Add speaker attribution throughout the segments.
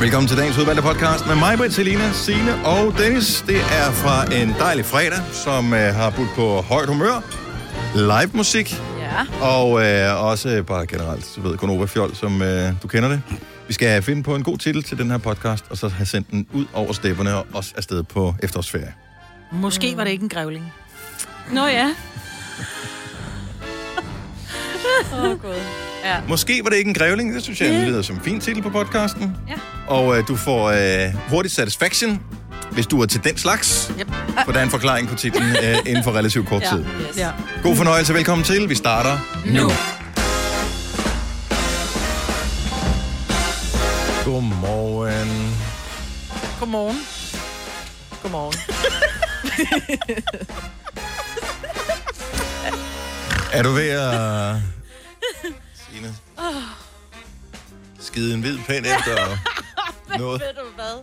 Speaker 1: Velkommen til dagens udvalgte podcast med mig, Britt, Selina, Signe og Dennis. Det er fra en dejlig fredag, som øh, har budt på højt humør, live musik
Speaker 2: Ja.
Speaker 1: og øh, også øh, bare generelt, du ved, Gunova Fjol, som øh, du kender det. Vi skal finde på en god titel til den her podcast, og så have sendt den ud over stepperne og også afsted på efterårsferie.
Speaker 3: Måske var det ikke en grævling.
Speaker 2: Nå ja. Åh, oh, gud. Ja.
Speaker 1: Måske var det ikke en grævling, det synes jeg yeah. lyder som en fin titel på podcasten.
Speaker 2: Ja.
Speaker 1: Og øh, du får øh, hurtigt satisfaction, hvis du er til den slags.
Speaker 3: Yep.
Speaker 1: For der er en forklaring på titlen øh, inden for relativt kort tid.
Speaker 2: Yes.
Speaker 3: Ja.
Speaker 1: God fornøjelse, velkommen til. Vi starter nu. Godmorgen.
Speaker 3: Godmorgen. Godmorgen.
Speaker 1: Er du ved at... Signe? Skide en hvid pind efter noget?
Speaker 2: Ved du hvad?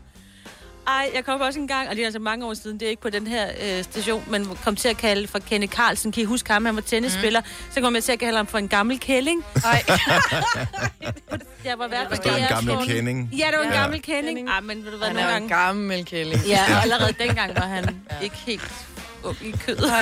Speaker 2: Ej, jeg kom også en gang, og det er altså mange år siden, det er ikke på den her øh, station, men kom til at kalde for Kenneth Carlsen. Kan I huske ham? Han var tennisspiller. Mm. Så kom jeg til at kalde ham for en gammel kælling.
Speaker 3: Nej.
Speaker 2: Jeg var hvert
Speaker 1: Der stod en gammel kending.
Speaker 2: Ja, det var en
Speaker 1: Ja.
Speaker 2: gammel kending. Ja, men ved du hvad,
Speaker 3: Han
Speaker 2: nogle
Speaker 3: er jo en
Speaker 2: gange...
Speaker 3: gammel kælling.
Speaker 2: Ja, og allerede dengang var han ikke helt ung i kødet.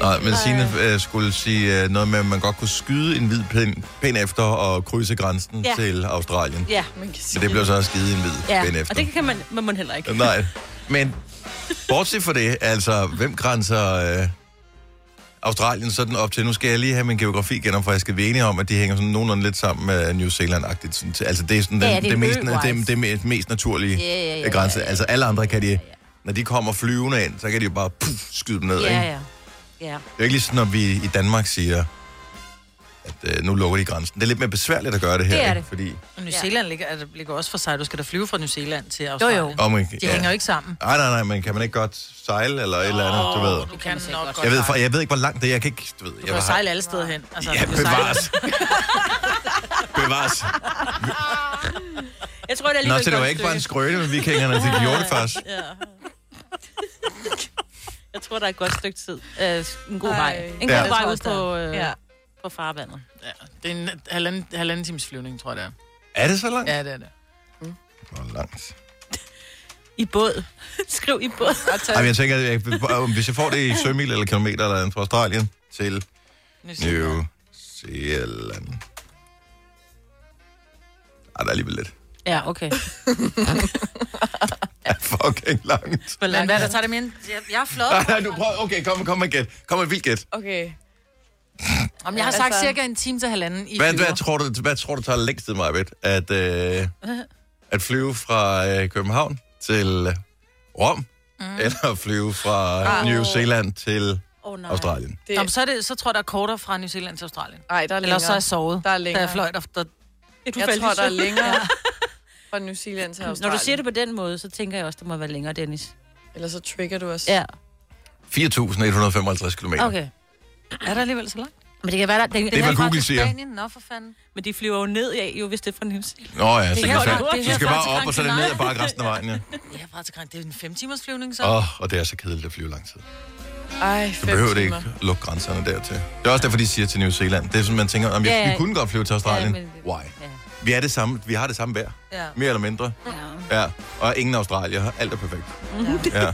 Speaker 1: Nej, men Signe øh, skulle sige øh, noget med, at man godt kunne skyde en hvid pind, pind efter og krydse grænsen ja.
Speaker 2: Ja.
Speaker 1: til Australien. Ja.
Speaker 2: Ja,
Speaker 3: Man kan sige,
Speaker 1: Men det blev så skide en hvid ja. pind
Speaker 2: ja.
Speaker 1: efter.
Speaker 2: og det kan man, man må heller ikke.
Speaker 1: Nej, men bortset fra det, altså, hvem grænser øh, Australien sådan op til? Nu skal jeg lige have min geografi genopfrisket. Vi er enige om, at de hænger sådan nogenlunde lidt sammen med New Zealand-agtigt. Sådan til- Altså, det er sådan den, ja,
Speaker 2: Ja, det
Speaker 1: det,
Speaker 2: er
Speaker 1: det, mest,
Speaker 2: ø-wise.
Speaker 1: det, det mest, mest naturlige
Speaker 2: Ja, ja, ja,
Speaker 1: øh, grænse. Altså, alle andre kan de, når de kommer flyvende ind, så kan de jo bare puff, skyde dem ned, ikke?
Speaker 2: Ja, ja. Ja.
Speaker 1: Det er ikke ligesom, når vi i Danmark siger, at øh, nu lukker de grænsen. Det er lidt mere besværligt at gøre det her,
Speaker 2: Det er
Speaker 1: ikke?
Speaker 2: det.
Speaker 1: Fordi,
Speaker 3: Og New
Speaker 2: Ja.
Speaker 3: Zealand ligger, altså, ligger også for sig. Du skal da flyve fra New Zealand til Australien.
Speaker 2: jo.
Speaker 1: om, man-
Speaker 3: De hænger jo ikke sammen.
Speaker 1: Nej, nej, nej, men kan man ikke godt sejle eller et eller andet, du ved.
Speaker 3: Du kan nok godt.
Speaker 1: Jeg ved, for, jeg ved ikke, hvor langt det er. Jeg kan ikke, du ved.
Speaker 3: Du
Speaker 1: jeg
Speaker 3: kan jo
Speaker 1: var-
Speaker 3: sejle alle steder hen. Altså,
Speaker 1: Ja,
Speaker 3: du kan sejle-
Speaker 1: bevares. bevares.
Speaker 2: Jeg tror, det er lige
Speaker 1: Nå, så det var ikke bare en skrøne med vikingerne, de gjorde det faktisk.
Speaker 2: Jeg tror, der er et godt stykke tid. Øh, en god
Speaker 4: Ej.
Speaker 2: vej. En
Speaker 1: Ja.
Speaker 2: god
Speaker 1: Det
Speaker 2: vej
Speaker 3: tror
Speaker 2: ud
Speaker 3: jeg også,
Speaker 2: på,
Speaker 3: der er.
Speaker 2: øh,
Speaker 4: Ja.
Speaker 2: på farvandet.
Speaker 3: Ja, det er en halvanden, halvanden times flyvning, tror jeg, det er.
Speaker 1: Er det så langt?
Speaker 3: Ja, det er det. Mm.
Speaker 1: Hvor langt.
Speaker 2: I båd. Skriv i båd.
Speaker 1: Ej, men jeg tænker, at jeg, hvis jeg får det i sømil eller kilometer eller andet fra Australien til
Speaker 3: New Zealand.
Speaker 1: New Zealand. Ej, der er alligevel lidt.
Speaker 2: Ja, okay.
Speaker 1: Ja, fucking langt.
Speaker 3: Men hvad er der tager det med? Jeg, jeg er flot.
Speaker 1: Ej, nej, du prøver. Okay, kom, kom med gæt. Kom med vildt gæt.
Speaker 4: Okay.
Speaker 3: Om jeg har
Speaker 4: Ja,
Speaker 3: sagt
Speaker 4: altså-
Speaker 3: cirka en time til halvanden i
Speaker 1: Hvad,
Speaker 3: flyver.
Speaker 1: hvad, tror du, hvad tror du tager længst tid, Majbet? At, øh, at flyve fra øh, København til Rom, mm. eller at flyve fra oh. New Zealand til
Speaker 2: Oh, nej.
Speaker 1: Australien?
Speaker 4: Det,
Speaker 3: Nå, men så, er det, så tror jeg, der er kortere fra New Zealand til Australien.
Speaker 4: ej, der er
Speaker 3: Eller
Speaker 4: længere.
Speaker 3: så er jeg sovet,
Speaker 4: Der er
Speaker 3: da
Speaker 4: længere.
Speaker 3: jeg fløj der. der
Speaker 2: Ja, du
Speaker 4: jeg
Speaker 2: faldt i
Speaker 4: tror, der er
Speaker 2: søvn.
Speaker 4: længere fra New Zealand til
Speaker 2: Når
Speaker 4: Australien.
Speaker 2: du siger det på den måde, så tænker jeg også, der må være længere, Dennis.
Speaker 4: Eller så trigger du os.
Speaker 1: 4.155 km. Okay.
Speaker 2: Okay.
Speaker 3: er der alligevel så langt.
Speaker 2: Men det kan være, der... Den,
Speaker 1: Det er, hvad
Speaker 3: Fra
Speaker 1: Google
Speaker 3: til
Speaker 1: siger.
Speaker 3: Spanien? Nå, for fanden.
Speaker 2: Men de flyver jo ned af, jo, hvis det er fra New Zealand.
Speaker 1: Nå ja, så
Speaker 3: her,
Speaker 1: kan
Speaker 3: der-
Speaker 1: du,
Speaker 3: det
Speaker 1: du
Speaker 3: er her
Speaker 1: skal
Speaker 3: fra
Speaker 1: bare
Speaker 3: til
Speaker 1: op, og så er det
Speaker 3: Gran
Speaker 1: ned
Speaker 3: Canaria.
Speaker 1: ad bare resten af vejen, ja.
Speaker 3: Det er bare til Gran- Det er en fem timers flyvning, så.
Speaker 1: Åh, og det er så kedeligt at flyve lang tid.
Speaker 4: Ej,
Speaker 1: Du
Speaker 4: fem
Speaker 1: behøver det ikke
Speaker 4: timer.
Speaker 1: at lukke grænserne dertil. Det er også derfor, de siger til New Zealand. Det er sådan, man tænker, om
Speaker 2: Ja,
Speaker 1: jeg,
Speaker 2: ja.
Speaker 1: vi kunne godt flyve til Australien.
Speaker 2: Ja, men-
Speaker 1: Why?
Speaker 2: Ja.
Speaker 1: Vi, er det samme, vi har det samme vejr,
Speaker 3: Ja.
Speaker 1: mere eller mindre. Ja, og ingen australier. Alt er perfekt. Ja.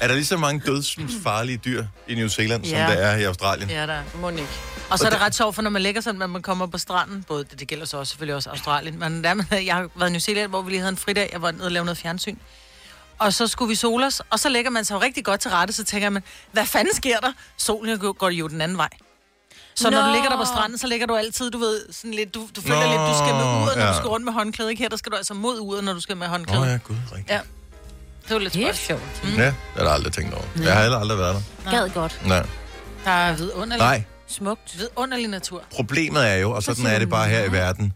Speaker 1: Er der lige så mange dødsfarlige dyr i New Zealand, som
Speaker 3: Ja.
Speaker 1: der er i Australien?
Speaker 3: Ja, der. er.
Speaker 4: Må den ikke.
Speaker 3: Og så er det ret sjovt, for når man ligger sådan, at man kommer på stranden, både det, det gælder så også selvfølgelig også Australien, men der, man, jeg har været i New Zealand, hvor vi lige havde en fridag, jeg var nede og lavede noget fjernsyn. Og så skulle vi sole os, og så lægger man sig jo rigtig godt til rette, så tænker man, hvad fanden sker der? Solen går- går jo den anden vej. Så når
Speaker 2: Nå.
Speaker 3: du ligger der på stranden, så ligger du altid, du ved, sådan lidt, du, du føler
Speaker 1: Nå,
Speaker 3: lidt, du skal med uret, når
Speaker 1: ja.
Speaker 3: du skal rundt med håndklæde. Ikke her, der skal du altså mod uret, når du skal med
Speaker 1: Åh
Speaker 3: håndklæde.
Speaker 1: oh,
Speaker 3: Oh,
Speaker 1: ja,
Speaker 3: ja.
Speaker 1: gud, rigtigt.
Speaker 3: Ja. Det er jo lidt
Speaker 2: Det er
Speaker 3: spøjst.
Speaker 2: sjovt.
Speaker 1: Mm. Ja, det har jeg aldrig tænkt over. Jeg har heller aldrig været der.
Speaker 2: Gad godt.
Speaker 1: Nej.
Speaker 3: Der er vidunderlig,
Speaker 1: Nej,
Speaker 2: Smukt.
Speaker 3: vidunderlig natur.
Speaker 1: problemet er jo, og sådan er det bare her i verden,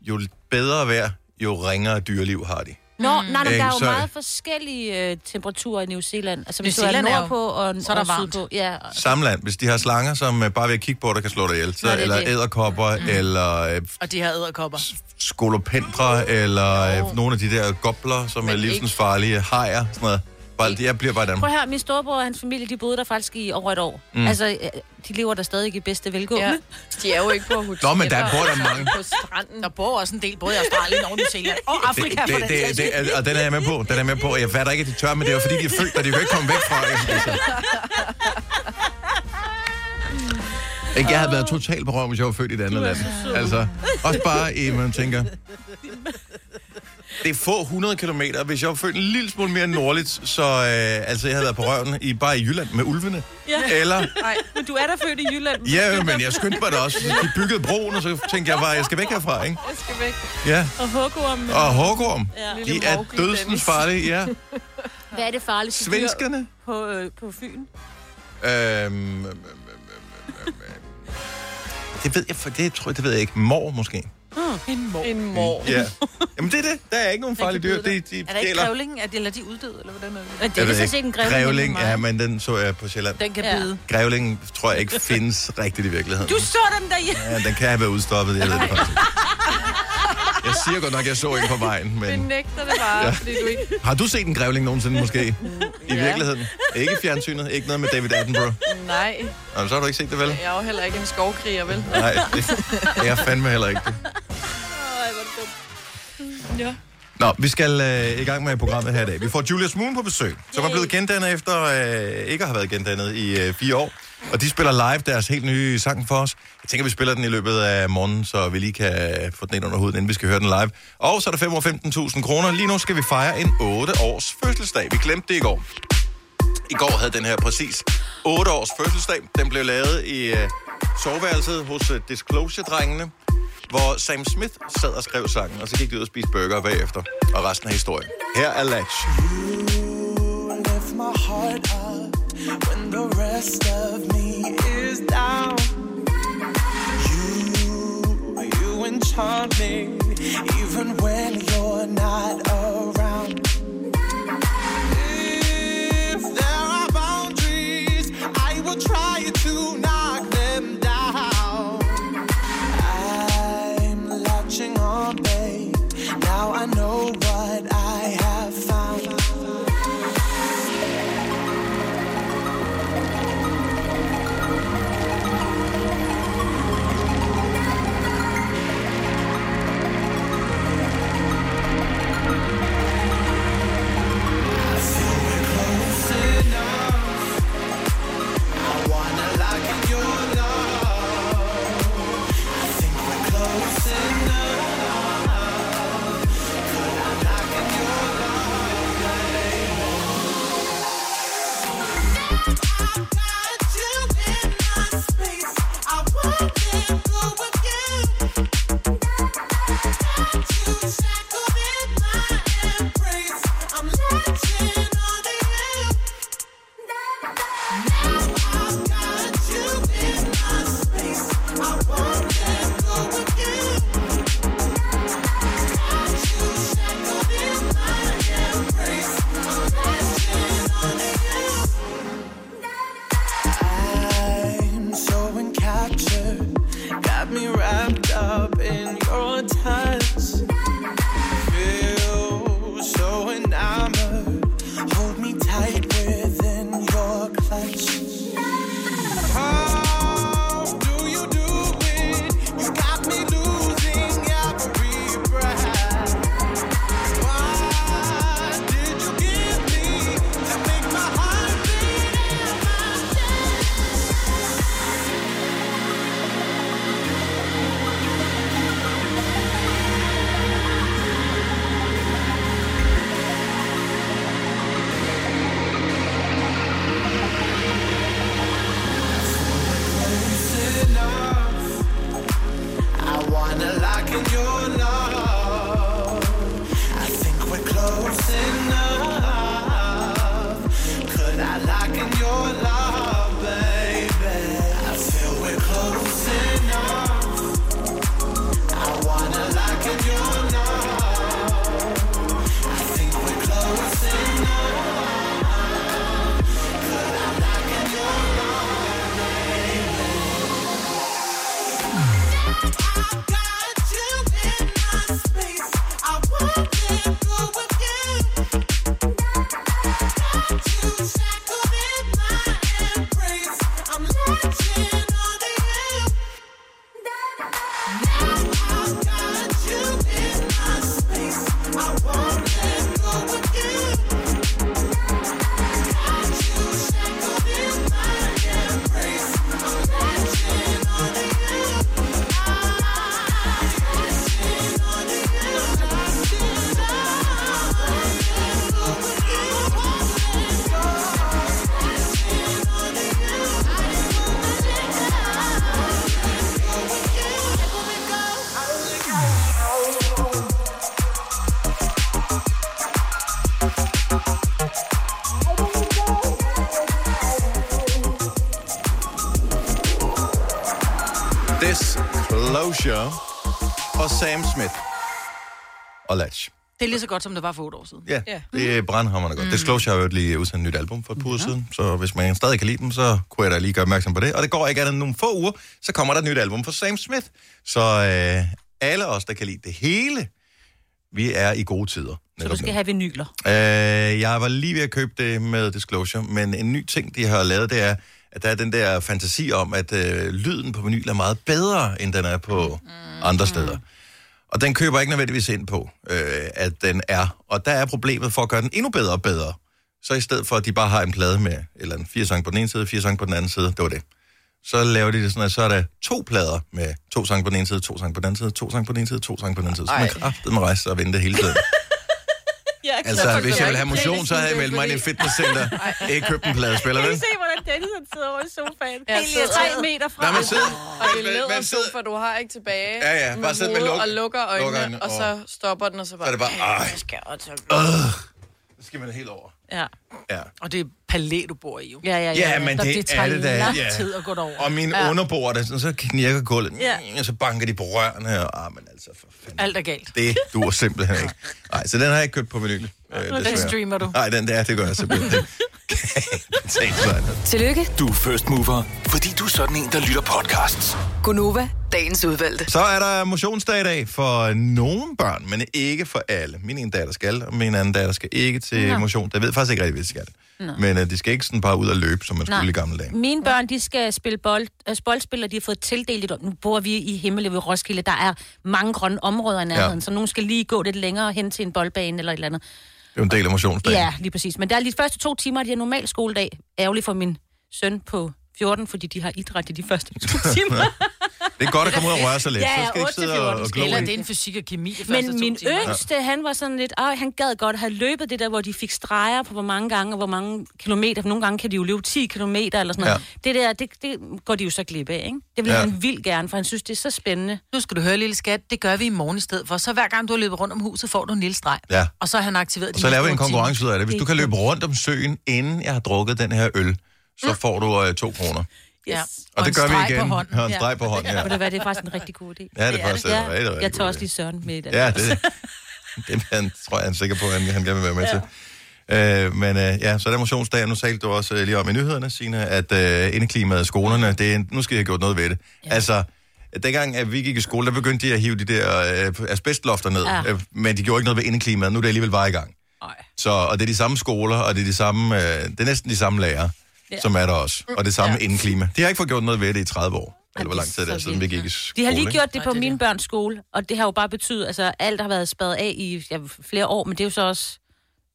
Speaker 1: jo bedre vejr, jo ringere dyreliv har de.
Speaker 2: Nå, nej, nej,
Speaker 1: Ikke?
Speaker 2: der er jo
Speaker 1: Så-
Speaker 2: meget forskellige øh, temperaturer i New Zealand. Altså, hvis
Speaker 3: New
Speaker 2: du er
Speaker 3: Zealand er jo-
Speaker 2: nordpå og,
Speaker 3: så er der
Speaker 2: og
Speaker 3: varmt.
Speaker 2: sydpå. Ja, og-
Speaker 1: Samland, hvis de har slanger, som øh, bare ved at kigge på dig kan slå dig ihjel, så,
Speaker 2: Nå, det er
Speaker 1: eller
Speaker 2: det.
Speaker 1: æderkopper, mm. eller øh,
Speaker 3: Og de her æderkopper.
Speaker 1: skolopendre, eller øh, nogle af de der gobler, som er
Speaker 3: ikke-
Speaker 1: livsens farlige hajer, sådan noget. Bare, jeg bliver bare i
Speaker 2: Prøv
Speaker 1: Danmark.
Speaker 2: at høre, min storebror og hans familie, de boede der faktisk i over et år.
Speaker 1: Mm.
Speaker 2: Mm. Altså, øh, de lever der stadig i bedste velgående.
Speaker 4: Ja.
Speaker 2: Ja.
Speaker 4: De er jo ikke på hoteller.
Speaker 1: Nå, men der bor der mange.
Speaker 4: På stranden.
Speaker 3: Der bor også en del, både i Australien og New Zealand. Og
Speaker 1: Det,
Speaker 3: Afrika, for
Speaker 1: det,
Speaker 3: den
Speaker 1: det,
Speaker 3: sags skyld.
Speaker 1: det, og den er jeg med på. Den er jeg med på. Jeg fatter ikke, at de tør, men det er jo fordi, de er født, og de kan jo ikke komme væk fra det. Altså. Ikke, Jeg havde været totalt på røven, hvis jeg var født i et andet land. Altså, også bare i, man tænker... Det er få 100 kilometer. Hvis jeg var født en lille smule mere nordligt, så øh, altså, jeg havde været på røven i, bare i Jylland med ulvene.
Speaker 2: Ja.
Speaker 1: Eller
Speaker 2: Nej, men du er der født i Jylland.
Speaker 1: Ja, men jeg skyndte mig da også. De byggede broen, og så tænkte jeg bare, jeg skal væk herfra, ikke?
Speaker 4: Jeg skal væk.
Speaker 1: Ja.
Speaker 2: Og huggorm.
Speaker 1: Og hårgorm.
Speaker 2: Ja.
Speaker 1: De
Speaker 4: Lille
Speaker 1: er
Speaker 4: Morgan
Speaker 1: dødsens
Speaker 4: Dennis.
Speaker 1: farlige, ja.
Speaker 2: Hvad er det farligste dyr
Speaker 1: Svenskerne.
Speaker 2: på, øh, på Fyn?
Speaker 1: Øhm, øhm, øhm, øhm, øhm, øhm. det ved jeg, for det tror jeg, det ved jeg ikke. Mor måske.
Speaker 3: En mor.
Speaker 4: En mor.
Speaker 1: Ja. Jamen det er det. Der er ikke nogen farlige dyr. De, de
Speaker 3: Er der ikke
Speaker 1: gælder.
Speaker 3: grævlingen? Er de, eller de uddøde, eller hvordan er det?
Speaker 2: Men det
Speaker 1: Jeg
Speaker 2: er
Speaker 1: ved
Speaker 2: vist ikke en grævling.
Speaker 1: Grævling,
Speaker 2: men
Speaker 1: ja,
Speaker 2: meget.
Speaker 1: men den så jeg på Sjælland.
Speaker 3: Den kan
Speaker 2: Ja.
Speaker 3: bide.
Speaker 1: Grævling tror jeg ikke findes rigtigt i virkeligheden.
Speaker 2: Du så den der hjemme.
Speaker 1: Ja, den kan have været udstoppet, jeg ved det faktisk. Jeg siger godt nok, at jeg så ikke på vejen, men...
Speaker 4: Jeg nægter det bare,
Speaker 1: Ja.
Speaker 4: ja. fordi du ikke...
Speaker 1: Har du set en grævling nogensinde måske? I
Speaker 4: Ja.
Speaker 1: virkeligheden. Ikke i fjernsynet, ikke noget med David Attenborough.
Speaker 4: Nej,
Speaker 1: Nå, så har du ikke set det, vel?
Speaker 4: jeg er jo heller ikke en skovkriger, vel?
Speaker 1: Nej, det det er jeg fandme heller ikke. det.
Speaker 4: Ja.
Speaker 1: Nå, vi skal øh, i gang med programmet her i dag. Vi får Julia Moon på besøg, som er blevet gendannet efter øh, ikke at have været gendannet i øh, fire år. Og de spiller live deres helt nye sang for os. Jeg tænker, vi spiller den i løbet af morgenen, så vi lige kan få den ind under huden, inden vi skal høre den live. Og så er der 5 år 15.000 kroner. Lige nu skal vi fejre en 8-års fødselsdag. Vi glemte det i går. I går havde den her præcis 8 års fødselsdag. Den blev lavet i øh, soveværelset hos øh, Disclosure-drengene, hvor Sam Smith sad og skrev sangen, og så gik de ud og spiste burger bagefter. Og resten af historien. Her er Latch.
Speaker 5: I left my heart up when the rest of me is down. You, you enchant me even when you're not around. If there are boundaries, I will try to knock them down. I'm latching on, babe. Now I know what I have found. I'm so encaptured, got me wrapped up in your touch. Feel so enamored, hold me tight within your clutch. How do you do it? You got me losing every breath. Why did you give me to make my heart beat in my chest? enough. I wanna lock in your love. I think we're close enough. Could I lock in your love, baby? I feel we're close enough. I wanna lock in your love. I think we're close enough. I've got you in
Speaker 1: Disclosure og Sam Smith og Latch.
Speaker 3: Det er lige så godt, som det var for otte år siden.
Speaker 1: Ja,
Speaker 4: Ja.
Speaker 1: det er brandhammerne godt. Mm. Disclosure har jo lige udsendt et nyt album for et par uger siden, så hvis man stadig kan lide dem, så kunne jeg da lige gøre opmærksom på det. Og det går ikke andet end nogle få uger, så kommer der et nyt album for Sam Smith. Så øh, alle os, der kan lide det hele, vi er i gode tider.
Speaker 2: Så du
Speaker 1: netop
Speaker 2: skal
Speaker 1: nu.
Speaker 2: have vinyler.
Speaker 1: Øh, jeg var lige ved at købe det med Disclosure, men en ny ting, de har lavet, det er, at der er den der fantasi om, at øh, lyden på vinyl er meget bedre, end den er på mm. andre steder. Og den køber jeg ikke nødvendigvis ind på, øh, at den er. Og der er problemet for at gøre den endnu bedre og bedre. Så i stedet for, at de bare har en plade med eller en fire sange på den ene side, fire sange på den anden side, det var det. Så laver de det sådan, at så er der to plader med to sange på den ene side, to sange på den anden side, to sange på den ene side, to sange på den anden side. Så man
Speaker 4: Ej.
Speaker 1: kraftedeme må rejse sig og vente hele tiden.
Speaker 2: Ja,
Speaker 1: Altså,
Speaker 4: forstår
Speaker 1: hvis
Speaker 4: jeg
Speaker 1: jeg ville
Speaker 4: ikke
Speaker 1: have motion,
Speaker 4: playlisten,
Speaker 1: så havde jeg
Speaker 4: det er
Speaker 1: meldt mig ind i et
Speaker 4: fordi-
Speaker 1: fitnesscenter. Ikke købt en pladespiller,
Speaker 2: Kan du
Speaker 1: vel?
Speaker 2: se, hvordan Dennis han sidder over i sofaen?
Speaker 4: Ja,
Speaker 2: Helt lige
Speaker 4: sidder.
Speaker 2: tre meter fra.
Speaker 1: Nej, men sidde.
Speaker 4: Og det er
Speaker 1: Man
Speaker 4: leder
Speaker 1: sidder-
Speaker 4: sofa, du har ikke tilbage.
Speaker 1: Ja, ja, bare sidde med
Speaker 4: hovedet
Speaker 1: luk-
Speaker 4: Og lukker øjnene,
Speaker 1: lukker øjnene,
Speaker 4: og så stopper den, og så
Speaker 1: Så er
Speaker 4: bare...
Speaker 1: det bare, ej,
Speaker 3: skal også.
Speaker 1: øh, så skal man helt over.
Speaker 2: Ja.
Speaker 1: Ja.
Speaker 3: Og det er palæ, du bor i, jo.
Speaker 2: Ja, ja, ja.
Speaker 1: Ja, men
Speaker 3: Der-
Speaker 1: det
Speaker 3: det
Speaker 1: er
Speaker 3: tager
Speaker 1: det da,
Speaker 3: lang
Speaker 1: ja.
Speaker 3: tid at gå derover.
Speaker 1: Og mine ja. underbord, der sådan, så knirker gulvet, mm, og så banker de på rørene, og ah, men altså, for fanden.
Speaker 3: Alt er galt.
Speaker 1: Det duer simpelthen ikke. Nej, så den har jeg ikke købt på menuen. Øh,
Speaker 3: Den streamer du.
Speaker 1: Nej, den der, det gør jeg simpelthen. Det kan jeg ikke betale sig.
Speaker 6: Tillykke,
Speaker 7: Du er first mover, fordi du er sådan en, der lytter podcasts.
Speaker 6: Gunova, dagens udvalgte.
Speaker 1: Så er der motionsdag i dag for nogle børn, men ikke for alle. Min ene datter skal, og min anden datter skal ikke til ja. motion. Jeg ved faktisk ikke rigtig, hvad de skal. Men uh, de skal ikke sådan bare ud og løbe, som man
Speaker 2: Nej.
Speaker 1: skulle i gamle dage.
Speaker 2: Mine børn, de skal spille bold, altså boldspil, og de har fået tildelt et... Nu bor vi i Himmel ved Roskilde. Der er mange grønne områder i nærheden,
Speaker 1: Ja.
Speaker 2: ja. så nogen skal lige gå lidt længere hen til en boldbane eller et eller andet.
Speaker 1: Det er jo en del af motionsdagen.
Speaker 2: Ja, lige præcis. Men der er lige de første to timer, de er normal skoledag. Ærgerligt for min søn på 14, fordi de har idræt i de første to timer.
Speaker 1: Det er godt at komme ud og røre sig lidt.
Speaker 2: Ja,
Speaker 1: så skal I ikke
Speaker 2: 8 til
Speaker 1: sidde og,
Speaker 2: 14
Speaker 1: og
Speaker 2: skal
Speaker 1: glo
Speaker 3: Eller
Speaker 1: i.
Speaker 3: det er en fysik og kemi de første
Speaker 2: Men
Speaker 3: to
Speaker 2: min
Speaker 3: timer.
Speaker 2: yngste, han var sådan lidt, åh, han gad godt have løbet det der, hvor de fik streger på, hvor mange gange og hvor mange kilometer. For nogle gange kan de jo løbe 10 kilometer eller sådan noget. Ja. Det der, det, det går de jo så glip af, ikke? Det vil
Speaker 1: Ja.
Speaker 2: ja. han vildt gerne, for han synes, det er så spændende.
Speaker 3: Nu skal du høre, lille skat, det gør vi i morgen i stedet for. Så hver gang du har løbet rundt om huset, får du en lille streg.
Speaker 1: Ja.
Speaker 3: Og så har han aktiveret
Speaker 1: Og så laver vi en konkurrence ud af det. Hvis du kan løbe rundt om søen, inden jeg har drukket den her øl, så får du øh, to kroner.
Speaker 2: Yes. Ja.
Speaker 1: Og, det gør
Speaker 3: en streg
Speaker 1: vi
Speaker 3: på
Speaker 1: igen.
Speaker 3: hånden.
Speaker 1: Og en streg på hånden, ja.
Speaker 2: Og det, var, det er faktisk en rigtig god idé.
Speaker 1: Ja, det er faktisk en rigtig, rigtig
Speaker 2: Jeg tager
Speaker 1: god
Speaker 2: også
Speaker 1: idé.
Speaker 2: lige Søren med i den.
Speaker 1: Ja, det, det er han, tror jeg, han er sikker på, at han, han gerne vil være med ja. til. Øh, men øh, ja, så er der motionsdag. Nu talte du også øh, lige om i nyhederne, Signe, at øh, indeklimaet i skolerne, det, er- nu skal jeg have gjort noget ved det. Ja. Altså, dengang at vi gik i skole, der begyndte de at hive de der øh, asbestlofter ned, ja.
Speaker 2: Ja.
Speaker 1: øh, men de gjorde ikke noget ved indeklimaet. Nu er det alligevel bare i gang.
Speaker 2: Nej.
Speaker 1: Så, og det er de samme skoler, og det er, de samme, øh, det er næsten de samme lærere, ja. som er der også. Og det samme ja. indeklima. De har ikke fået gjort noget ved det i 30 år. Eller hvor
Speaker 2: det er
Speaker 1: lang tid det er,
Speaker 2: så
Speaker 1: siden vi
Speaker 2: vildt.
Speaker 1: gik i skole.
Speaker 2: De har lige
Speaker 1: ikke?
Speaker 2: gjort det på
Speaker 3: det er
Speaker 2: mine børns skole, og det har jo bare betydet, altså alt har været spadet af i ja, flere år, men det er jo så også...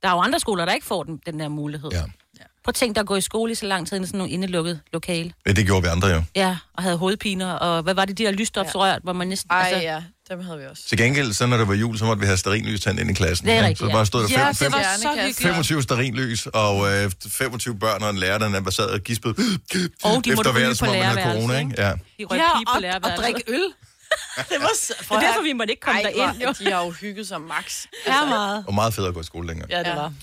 Speaker 2: Der er jo andre skoler, der ikke får den, den der mulighed.
Speaker 1: Ja.
Speaker 2: Prøv at tænke dig at gå i skole i så lang tid, i sådan nogle indelukket lokale.
Speaker 1: Ja, det gjorde vi andre jo.
Speaker 2: Ja, og havde hovedpiner, og hvad var det, de der lysstofsrør, ja. hvor man næsten... altså,
Speaker 4: Ej, ja, dem havde vi også.
Speaker 1: Til gengæld, så når det var jul, så måtte vi have sterinlys tændt ind i klassen.
Speaker 2: Det er
Speaker 1: Ja,
Speaker 2: rigtigt,
Speaker 1: så
Speaker 2: ja.
Speaker 1: bare stod der fem,
Speaker 3: Ja,
Speaker 1: fem,
Speaker 3: det var så
Speaker 4: Hjernekasse.
Speaker 3: hyggeligt.
Speaker 1: 25 sterinlys, og øh, 25 børn og en lærer, der nærmest sad og gispede.
Speaker 2: Og de måtte
Speaker 1: efter
Speaker 2: ryge
Speaker 1: hver,
Speaker 2: på
Speaker 1: som om man havde
Speaker 2: lærerværelset,
Speaker 1: corona, ikke?
Speaker 2: ikke?
Speaker 1: Ja.
Speaker 2: De røg
Speaker 3: Ja,
Speaker 2: pige på
Speaker 3: og, og
Speaker 2: lærerværelset.
Speaker 3: drikke øl. det var så...
Speaker 2: Det er derfor, vi måtte ikke komme
Speaker 4: Ej, hvor,
Speaker 2: derind, jo.
Speaker 4: de har jo hygget sig max. Altså,
Speaker 3: Ja, meget.
Speaker 1: Og meget fedt at gå i skole længere.
Speaker 3: Ja, det var.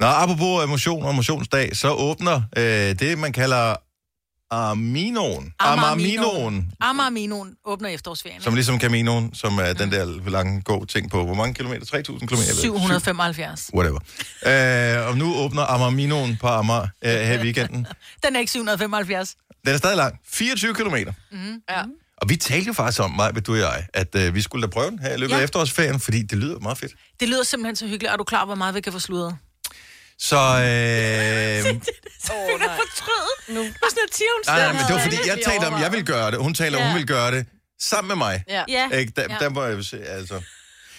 Speaker 1: Nå, apropos øh, motion og motionsdag, så åbner øh, det, man kalder Aminoen. Amarminoen.
Speaker 3: Amarminoen åbner i efterårsferien.
Speaker 1: Som ligesom Caminoen, som er den der lange gå ting på. Hvor mange kilometer? 3.000 kilometer? Jeg ved ikke.
Speaker 3: 775.
Speaker 1: Whatever. Øh, og nu åbner Amarminoen på Amager øh, her i weekenden.
Speaker 3: Den er ikke 775.
Speaker 1: Den er stadig lang. 24 kilometer.
Speaker 4: Ja.
Speaker 1: Og vi talte jo faktisk om, mig, du og jeg, at øh, vi skulle da prøve den her i løbet af
Speaker 3: Ja.
Speaker 1: efterårsferien, fordi det lyder meget fedt.
Speaker 3: Det lyder simpelthen så hyggeligt. Er du klar, hvor meget vi kan få
Speaker 1: Øhm.
Speaker 3: sludret?
Speaker 1: Så, øh,
Speaker 4: Åh, oh, nej.
Speaker 2: Nu. Og sådan noget tivn.
Speaker 1: nej, nej, men det var fordi, jeg
Speaker 4: Vi
Speaker 1: talte om, at jeg
Speaker 4: overvejer.
Speaker 1: ville gøre det. Hun taler om, hun
Speaker 2: Ja.
Speaker 1: ville gøre det sammen med mig.
Speaker 4: Ja,
Speaker 2: Ja,
Speaker 1: Ikke? Der, der må jeg jo se, altså.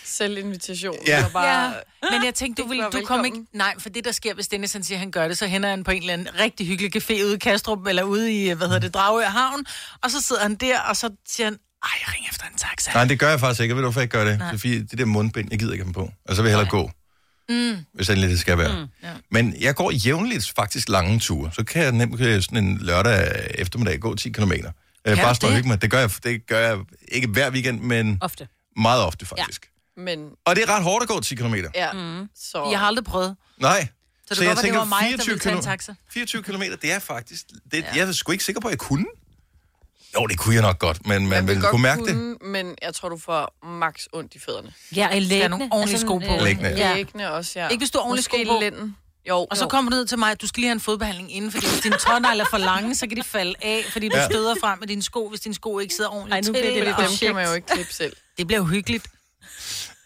Speaker 4: selv invitation.
Speaker 1: Ja.
Speaker 4: Det var bare... Ja.
Speaker 3: Men jeg tænkte, du,
Speaker 4: Det
Speaker 3: vil,
Speaker 4: var
Speaker 3: du kom ikke...
Speaker 4: velkommen.
Speaker 3: Nej, for det, der sker, hvis Dennis han siger, at han gør det, så hænder han på en eller anden rigtig hyggelig café ude i Kastrup, eller ude i, hvad hedder det, Dragør Havn, og så sidder han der, og så siger han, ej, ring efter en taxa.
Speaker 1: Nej, det gør jeg faktisk ikke. Jeg ved du, hvorfor jeg ikke gør det? Fordi det der mundbind, jeg gider ikke have dem på. Og så vil jeg hellere gå. Mm. Hvis endelig det skal være. Mm, ja. Men jeg går jævnligt faktisk lange ture. Så kan jeg nemt øh, sådan en lørdag eftermiddag gå 10 km. Øh,
Speaker 3: du
Speaker 1: bare stå og
Speaker 3: det?
Speaker 1: hygge mig. Det gør, jeg, det gør jeg ikke hver weekend, men
Speaker 2: Ofte.
Speaker 1: meget ofte faktisk. Ja.
Speaker 4: Men
Speaker 1: Og det er ret hårdt at gå 10 km.
Speaker 4: ja, mm. så...
Speaker 3: Jeg har aldrig prøvet.
Speaker 1: Nej.
Speaker 3: Så det kan godt være, det var mig, der ville tage en taxa.
Speaker 1: 24 km, det er faktisk... Det, ja. Jeg er sgu ikke sikker på, at jeg kunne. Jo, det kunne jeg nok godt, men man ville kunne mærke det.
Speaker 4: det. Men jeg tror, du får max ondt i fødderne.
Speaker 2: Ja, en lægne.
Speaker 3: nogle ordentlige
Speaker 2: en,
Speaker 3: sko på.
Speaker 2: øh,
Speaker 1: Lægne.
Speaker 2: Ja.
Speaker 4: Læggende også, ja.
Speaker 3: Ikke hvis du har ordentlig sko
Speaker 4: Måske
Speaker 3: på.
Speaker 4: lænden. Jo,
Speaker 3: Og så
Speaker 4: jo.
Speaker 3: kommer du ned til mig, at du skal lige have en fodbehandling inden, fordi hvis dine tårnegle er for lange, så kan de falde af, fordi du
Speaker 1: Ja.
Speaker 3: støder frem med dine sko, hvis dine sko ikke sidder ordentligt
Speaker 2: Ej, nu bliver det
Speaker 3: til,
Speaker 2: lidt
Speaker 3: og-
Speaker 4: Dem kan man jo ikke klippe selv.
Speaker 3: det bliver uhyggeligt.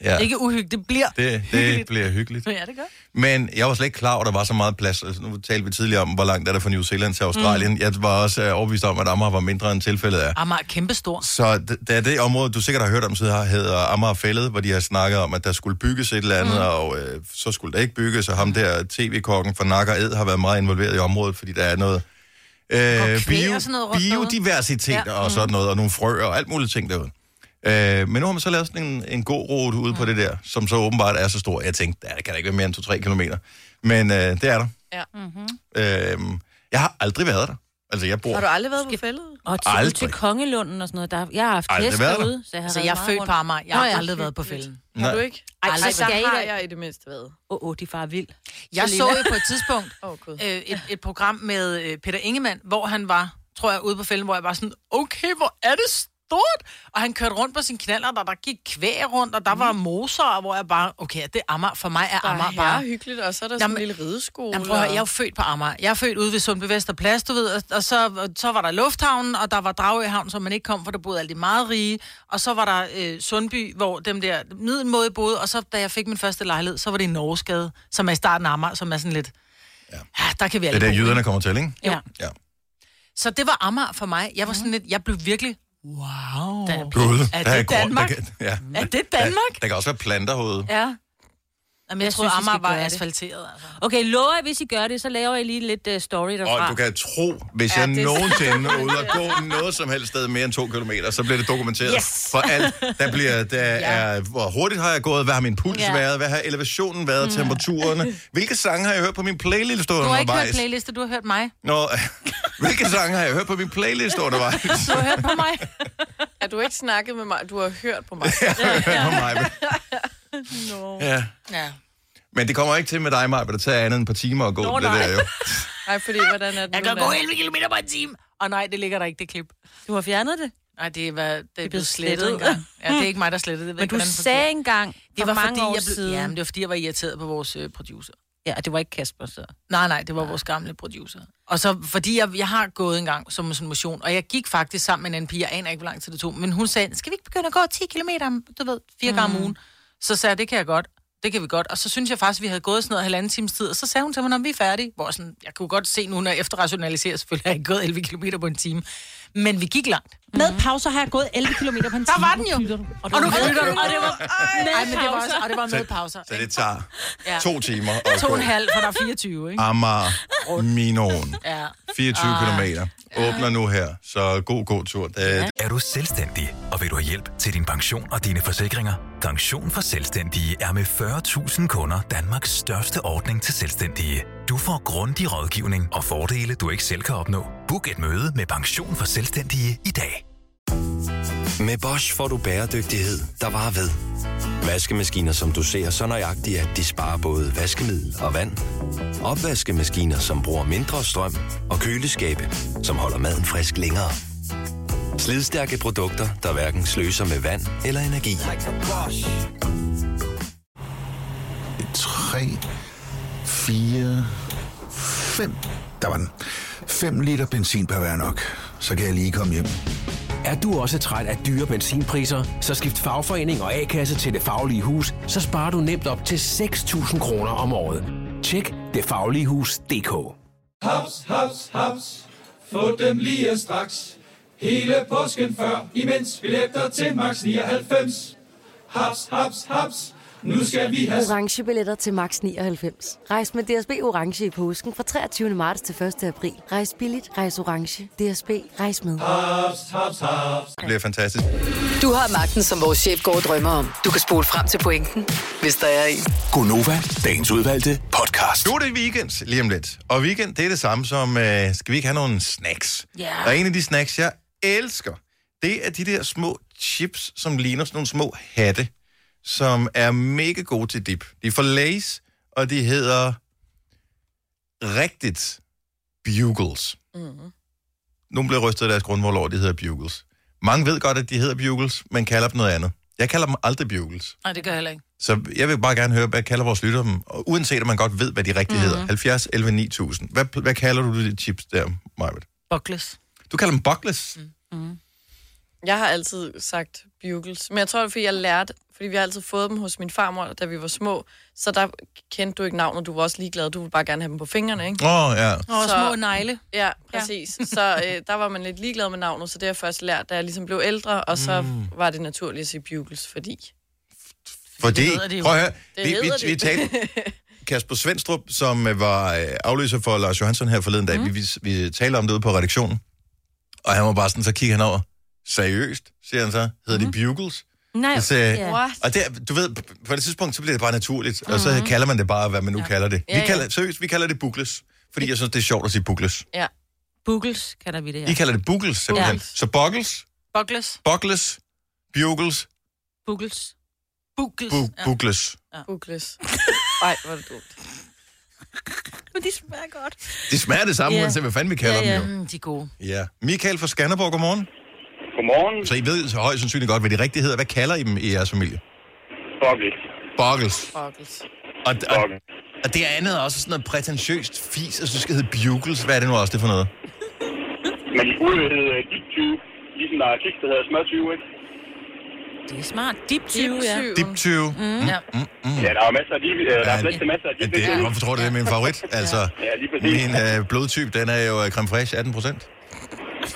Speaker 1: Ja,
Speaker 3: Ikke uhyggeligt, det bliver...
Speaker 1: det, det bliver hyggeligt.
Speaker 3: Ja, det gør.
Speaker 1: Men jeg var slet ikke klar over, at der var så meget plads. Altså, nu talte vi tidligere om, hvor langt er der fra New Zealand til Australien. Mm. Jeg var også øh, overbevist om, at Amager var mindre end tilfældet er.
Speaker 3: Amager er kæmpestor.
Speaker 1: Så d- da det område, du sikkert har hørt om, så har- hedder Amager Fælled, hvor de har snakket om, at der skulle bygges et eller andet, mm. og øh, så skulle der ikke bygges, og ham der tv-kokken fra Nakker Ed har været meget involveret i området, fordi der er noget øh,
Speaker 3: knæ og sådan noget rundt derude.
Speaker 1: biodiversitet ja.
Speaker 3: Ja.
Speaker 1: og sådan noget, og nogle frøer og alt muligt ting derude. Øh, men nu har man så lavet sådan en, en god rute ude mm. på det der, som så åbenbart er så stor. Jeg tænkte, der kan da ikke være mere end 2-3 kilometer. Men øh, det er der.
Speaker 4: Ja.
Speaker 2: Mhm.
Speaker 1: Øh, jeg har aldrig været der. Altså, jeg bor...
Speaker 4: Har du aldrig været på fældet?
Speaker 2: Og til,
Speaker 1: Aldrig.
Speaker 2: Aldrig. til Kongelunden og sådan noget. Der, jeg har haft
Speaker 1: Aldrig
Speaker 2: hest
Speaker 1: været der.
Speaker 2: derude, så jeg har
Speaker 3: Altså,
Speaker 2: været
Speaker 3: jeg er
Speaker 2: meget
Speaker 3: født på
Speaker 2: rundt.
Speaker 3: Amager. Jeg har
Speaker 2: Nå ja,
Speaker 3: aldrig været på fælden.
Speaker 4: Har du ikke?
Speaker 2: Ej,
Speaker 4: Ej,
Speaker 2: så
Speaker 4: Ej,
Speaker 2: skal
Speaker 4: der
Speaker 2: jeg
Speaker 4: har
Speaker 2: ikke-
Speaker 4: jeg i det mindste været.
Speaker 2: Åh, oh, oh, de far er vild.
Speaker 3: Jeg så jo på et tidspunkt
Speaker 4: Åh, oh, gud.
Speaker 3: øh, et, et program med øh, Peter Ingemann, hvor han var, tror jeg, ude på fælden, hvor jeg var sådan, okay, hvor er det stort? Og han kørte rundt på sin knaller, der, der gik kvæg rundt, og der var moser, og hvor jeg bare, okay, det er Amager, for mig er
Speaker 4: Mm. Der
Speaker 3: Amager
Speaker 4: er bare
Speaker 3: bare...
Speaker 4: hyggeligt, og så er der sådan en
Speaker 3: Jamen-
Speaker 4: lille rideskole.
Speaker 3: Jamen, prøv at høre, jeg er jo
Speaker 4: og-
Speaker 3: født på Amager. Jeg er født ude ved Sundby Vesterplads, du ved, og, og så, så var der Lufthavnen, og der var Dragøhavn, som man ikke kom, for der boede alle de meget rige. Og så var der øh, Sundby, hvor dem der middelmåde boede, og så da jeg fik min første lejlighed, så var det i Norgesgade, som er i starten af Amager, som er sådan lidt... Ja, der kan vi
Speaker 1: Det er
Speaker 3: alle
Speaker 1: der,
Speaker 3: bo.
Speaker 1: jyderne kommer til, ikke?
Speaker 2: Ja.
Speaker 1: Ja. Mhm.
Speaker 3: Så det var Amager for mig. Jeg var sådan lidt, jeg blev virkelig, wow. Da jeg blev,
Speaker 1: Gud,
Speaker 3: er
Speaker 1: der
Speaker 3: det
Speaker 1: grund-
Speaker 3: Danmark?
Speaker 1: Der kan, ja.
Speaker 3: Er det Danmark?
Speaker 1: Der, der kan også være planter herude.
Speaker 3: Ja. Jamen, jeg, jeg
Speaker 2: Jeg
Speaker 3: troede,
Speaker 2: synes, I
Speaker 3: Amager
Speaker 2: skal
Speaker 3: var
Speaker 2: gøre det.
Speaker 3: asfalteret. Altså.
Speaker 2: Okay, lover jeg, hvis I gør det, så laver jeg lige lidt uh, story derfra.
Speaker 1: Og
Speaker 3: Ah.
Speaker 1: du kan tro, hvis
Speaker 4: Ja,
Speaker 1: jeg
Speaker 4: det er-
Speaker 1: nogensinde er ude og gå noget som helst sted mere end to kilometer, så bliver det dokumenteret.
Speaker 2: Yes.
Speaker 1: For alt, der bliver, der er, hvor hurtigt har jeg gået, hvad har min puls
Speaker 3: Ja. Mm.
Speaker 1: været, hvad har elevationen været, temperaturerne, hvilke sange har jeg hørt på min playlist
Speaker 3: Du har ikke hørt
Speaker 1: undervejs?
Speaker 3: playliste, du har hørt mig.
Speaker 1: Nå, hvilke sange har jeg hørt på min playlist undervejs?
Speaker 3: Du har hørt på mig.
Speaker 4: Er du ikke snakket med mig? Du har hørt på mig.
Speaker 1: Hør mig. Ja.
Speaker 3: Ja.
Speaker 1: Men det kommer ikke til med dig, Maja, at det tager andet end et par timer at gå.
Speaker 2: Nå,
Speaker 1: det
Speaker 2: nej.
Speaker 1: der jo.
Speaker 4: Nej, fordi hvordan er det
Speaker 3: Jeg
Speaker 4: nu,
Speaker 3: kan
Speaker 4: mand?
Speaker 3: gå 11 km på en time. Og nej, det ligger der ikke, det klip.
Speaker 2: Du har fjernet det.
Speaker 3: Nej, det var, det er blevet
Speaker 2: blevet
Speaker 3: slettet
Speaker 2: slettet. Hmm.
Speaker 3: engang. Ja, det er ikke mig, der slettede det. Jeg ved
Speaker 2: Men
Speaker 3: ikke,
Speaker 2: du
Speaker 3: hvordan det
Speaker 2: sagde engang for
Speaker 3: fungerer. det var
Speaker 2: mange
Speaker 3: fordi,
Speaker 2: år
Speaker 3: jeg blev,
Speaker 2: siden.
Speaker 3: Ja, men det var fordi, jeg var irriteret på vores øh, producer.
Speaker 2: Ja, og det var ikke Kasper, så.
Speaker 3: Nej, nej, det var vores gamle producer. Og så, fordi jeg, jeg har gået en gang som sådan motion, og jeg gik faktisk sammen med en anden pige, jeg aner ikke, hvor lang tid det tog, men hun sagde, skal vi ikke begynde at gå 10 km, du ved, fire
Speaker 8: Mm.
Speaker 3: gange om ugen? Så sagde jeg, det kan jeg godt, det kan vi godt. Og så synes jeg faktisk, vi havde gået sådan noget halvanden times tid, og så sagde hun til mig, når vi er færdige, hvor sådan, jeg kunne godt se nu, når jeg efterrationaliserer, selvfølgelig har jeg ikke gået 11 km på en time, men vi gik langt. Mm-hmm.
Speaker 8: Med pauser har jeg gået 11 km på en time.
Speaker 3: Der var den jo.
Speaker 8: Lytter du?
Speaker 3: Og du, og du, og det var, ej, men det var
Speaker 2: pauser.
Speaker 3: også, og det var med pauser.
Speaker 1: Så det tager
Speaker 3: Ja.
Speaker 1: to timer at
Speaker 3: To og
Speaker 1: gå. Ah,
Speaker 3: en halv, for der er 24, ikke? Ah.
Speaker 1: Amager Minoen.
Speaker 3: Ja.
Speaker 1: 24 kilometer. Åbner nu her, så god, god tur. Det,
Speaker 7: Er du selvstændig, og vil du have hjælp til din pension og dine forsikringer? Pension for Selvstændige er med 40.000 kunder Danmarks største ordning til selvstændige. Du får grundig rådgivning og fordele, du ikke selv kan opnå. Book et møde med Pension for Selvstændige i dag.
Speaker 9: Med Bosch får du bæredygtighed, der varer ved. Vaskemaskiner, som du ser så nøjagtigt, at de sparer både vaskemiddel og vand. Opvaskemaskiner, som bruger mindre strøm. Og køleskabe, som holder maden frisk længere. Slidstærke produkter, der hverken sløser med vand eller energi.
Speaker 10: tre, fire, fem. Der var den. 5 liter benzin per hver nok. Så kan jeg lige komme hjem.
Speaker 11: Er du også træt af dyre benzinpriser, så skift fagforening og A-kasse til Det Faglige Hus, så sparer du nemt op til 6.000 kroner om året. Tjek detfagligehus.dk
Speaker 5: Haps, haps, haps. Få dem lige straks. Hele påsken før, imens billetter til max 99. Haps, haps, haps. Nu skal vi have...
Speaker 12: Orange billetter til max 99. Rejs med DSB Orange i påsken fra 23. marts til 1. april. Rejs billigt, rejs orange. DSB, rejs med.
Speaker 1: det bliver fantastisk.
Speaker 6: Du har magten, som vores chef går og drømmer om. Du kan spole frem til pointen, hvis der er en.
Speaker 7: Gonova, dagens udvalgte podcast.
Speaker 1: Nu er det weekend lige om lidt. Og weekend, det er det samme som, øh, skal vi ikke have nogle snacks? Yeah. Og en af de snacks, jeg elsker, det er de der små chips, som ligner sådan nogle små hatte, som er mega gode til dip. De er fra Lays, og de hedder rigtigt Bugles. Mm. Nogle bliver rystet af deres grundvold over, at de hedder Bugles. Mange ved godt, at de hedder Bugles, men kalder dem noget andet. Jeg kalder dem aldrig Bugles.
Speaker 3: Nej, det gør jeg heller ikke.
Speaker 1: Så jeg vil bare gerne høre, hvad kalder vores lytter dem? Og uanset om man godt ved, hvad de rigtigt mm. hedder. 70, 11, 9000. Hvad, hvad kalder du de chips der, Marvitt?
Speaker 3: Buckles.
Speaker 1: Du kalder dem buckles? Mm.
Speaker 4: Jeg har altid sagt bugles, men jeg tror, det er, fordi jeg lærte, fordi vi har altid fået dem hos min farmor, da vi var små, så der kendte du ikke navnet, du var også ligeglad, du ville bare gerne have dem på fingrene, ikke?
Speaker 1: Åh, oh, ja.
Speaker 3: Og små negle.
Speaker 4: Ja, præcis. Ja. Så øh, der var man lidt ligeglad med navnet, så det har jeg først lært, da jeg ligesom blev ældre, og så
Speaker 1: Mm.
Speaker 4: mm. var det naturligt at sige bugles, fordi...
Speaker 1: Fordi,
Speaker 4: hedder de jo.
Speaker 1: prøv at høre,
Speaker 4: Det
Speaker 1: vi, vi,
Speaker 4: hedder de.
Speaker 1: vi talte Kasper Svendstrup, som øh, var øh, afløser for Lars Johansson her forleden
Speaker 4: Mhm.
Speaker 1: dag. Mm. Vi, vi, vi talte om det ude på redaktionen, og han var bare sådan, så kigger han over. Seriøst, siger han så. Hedder
Speaker 4: Mhm.
Speaker 1: mm. de Bugles?
Speaker 2: Nej,
Speaker 1: så,
Speaker 2: ja.
Speaker 1: yeah.
Speaker 2: What?
Speaker 1: Altså, Og der, du ved, på det tidspunkt, så bliver det bare naturligt, mm. og så kalder man det bare, hvad man nu ja. kalder det. Vi
Speaker 2: Mhm. Ja, ja.
Speaker 1: kalder, seriøst, vi kalder det Bugles, fordi jeg synes, det er sjovt at sige Bugles.
Speaker 4: Ja.
Speaker 2: Bugles kalder vi det her.
Speaker 1: I kalder det Bugles, simpelthen.
Speaker 2: Bugles.
Speaker 1: Så Buggles,
Speaker 3: Buckles.
Speaker 1: Buggles, Bugles,
Speaker 2: Bugles.
Speaker 3: Bugles.
Speaker 1: Bu- Bugles.
Speaker 4: Ja. Bugles. Nej, hvor er det dumt.
Speaker 2: Men de smager godt.
Speaker 1: De smager det samme,
Speaker 2: Ja.
Speaker 1: yeah. uanset hvad fanden vi kalder dem jo.
Speaker 3: Mm, de er gode.
Speaker 1: Ja. Michael fra Skanderborg, godmorgen.
Speaker 13: Godmorgen.
Speaker 1: Så I ved så højst sandsynligt godt, hvad de rigtige hedder. Hvad kalder I dem i jeres familie?
Speaker 13: Buggles.
Speaker 1: Buggles.
Speaker 4: Buggles.
Speaker 1: Og, og, og det andet er også sådan noget prætentiøst fis, og så skal hedde Bugles. Hvad er det nu også, det er for noget?
Speaker 13: Men de burde hedde øh, Deep 20, ligesom der er kiks, der hedder Smør 20, ikke?
Speaker 2: Det er smart. Dip 20, ja.
Speaker 1: Dip 20.
Speaker 2: Mm. Ja.
Speaker 1: Mm.
Speaker 13: Ja, der er masser af de, øh, der er plads til masser af de.
Speaker 1: Ja, det, hvorfor tror du, det er min favorit? Altså,
Speaker 13: Ja, lige præcis.
Speaker 1: min øh, blodtype, den er jo øh, creme fraiche 18 procent.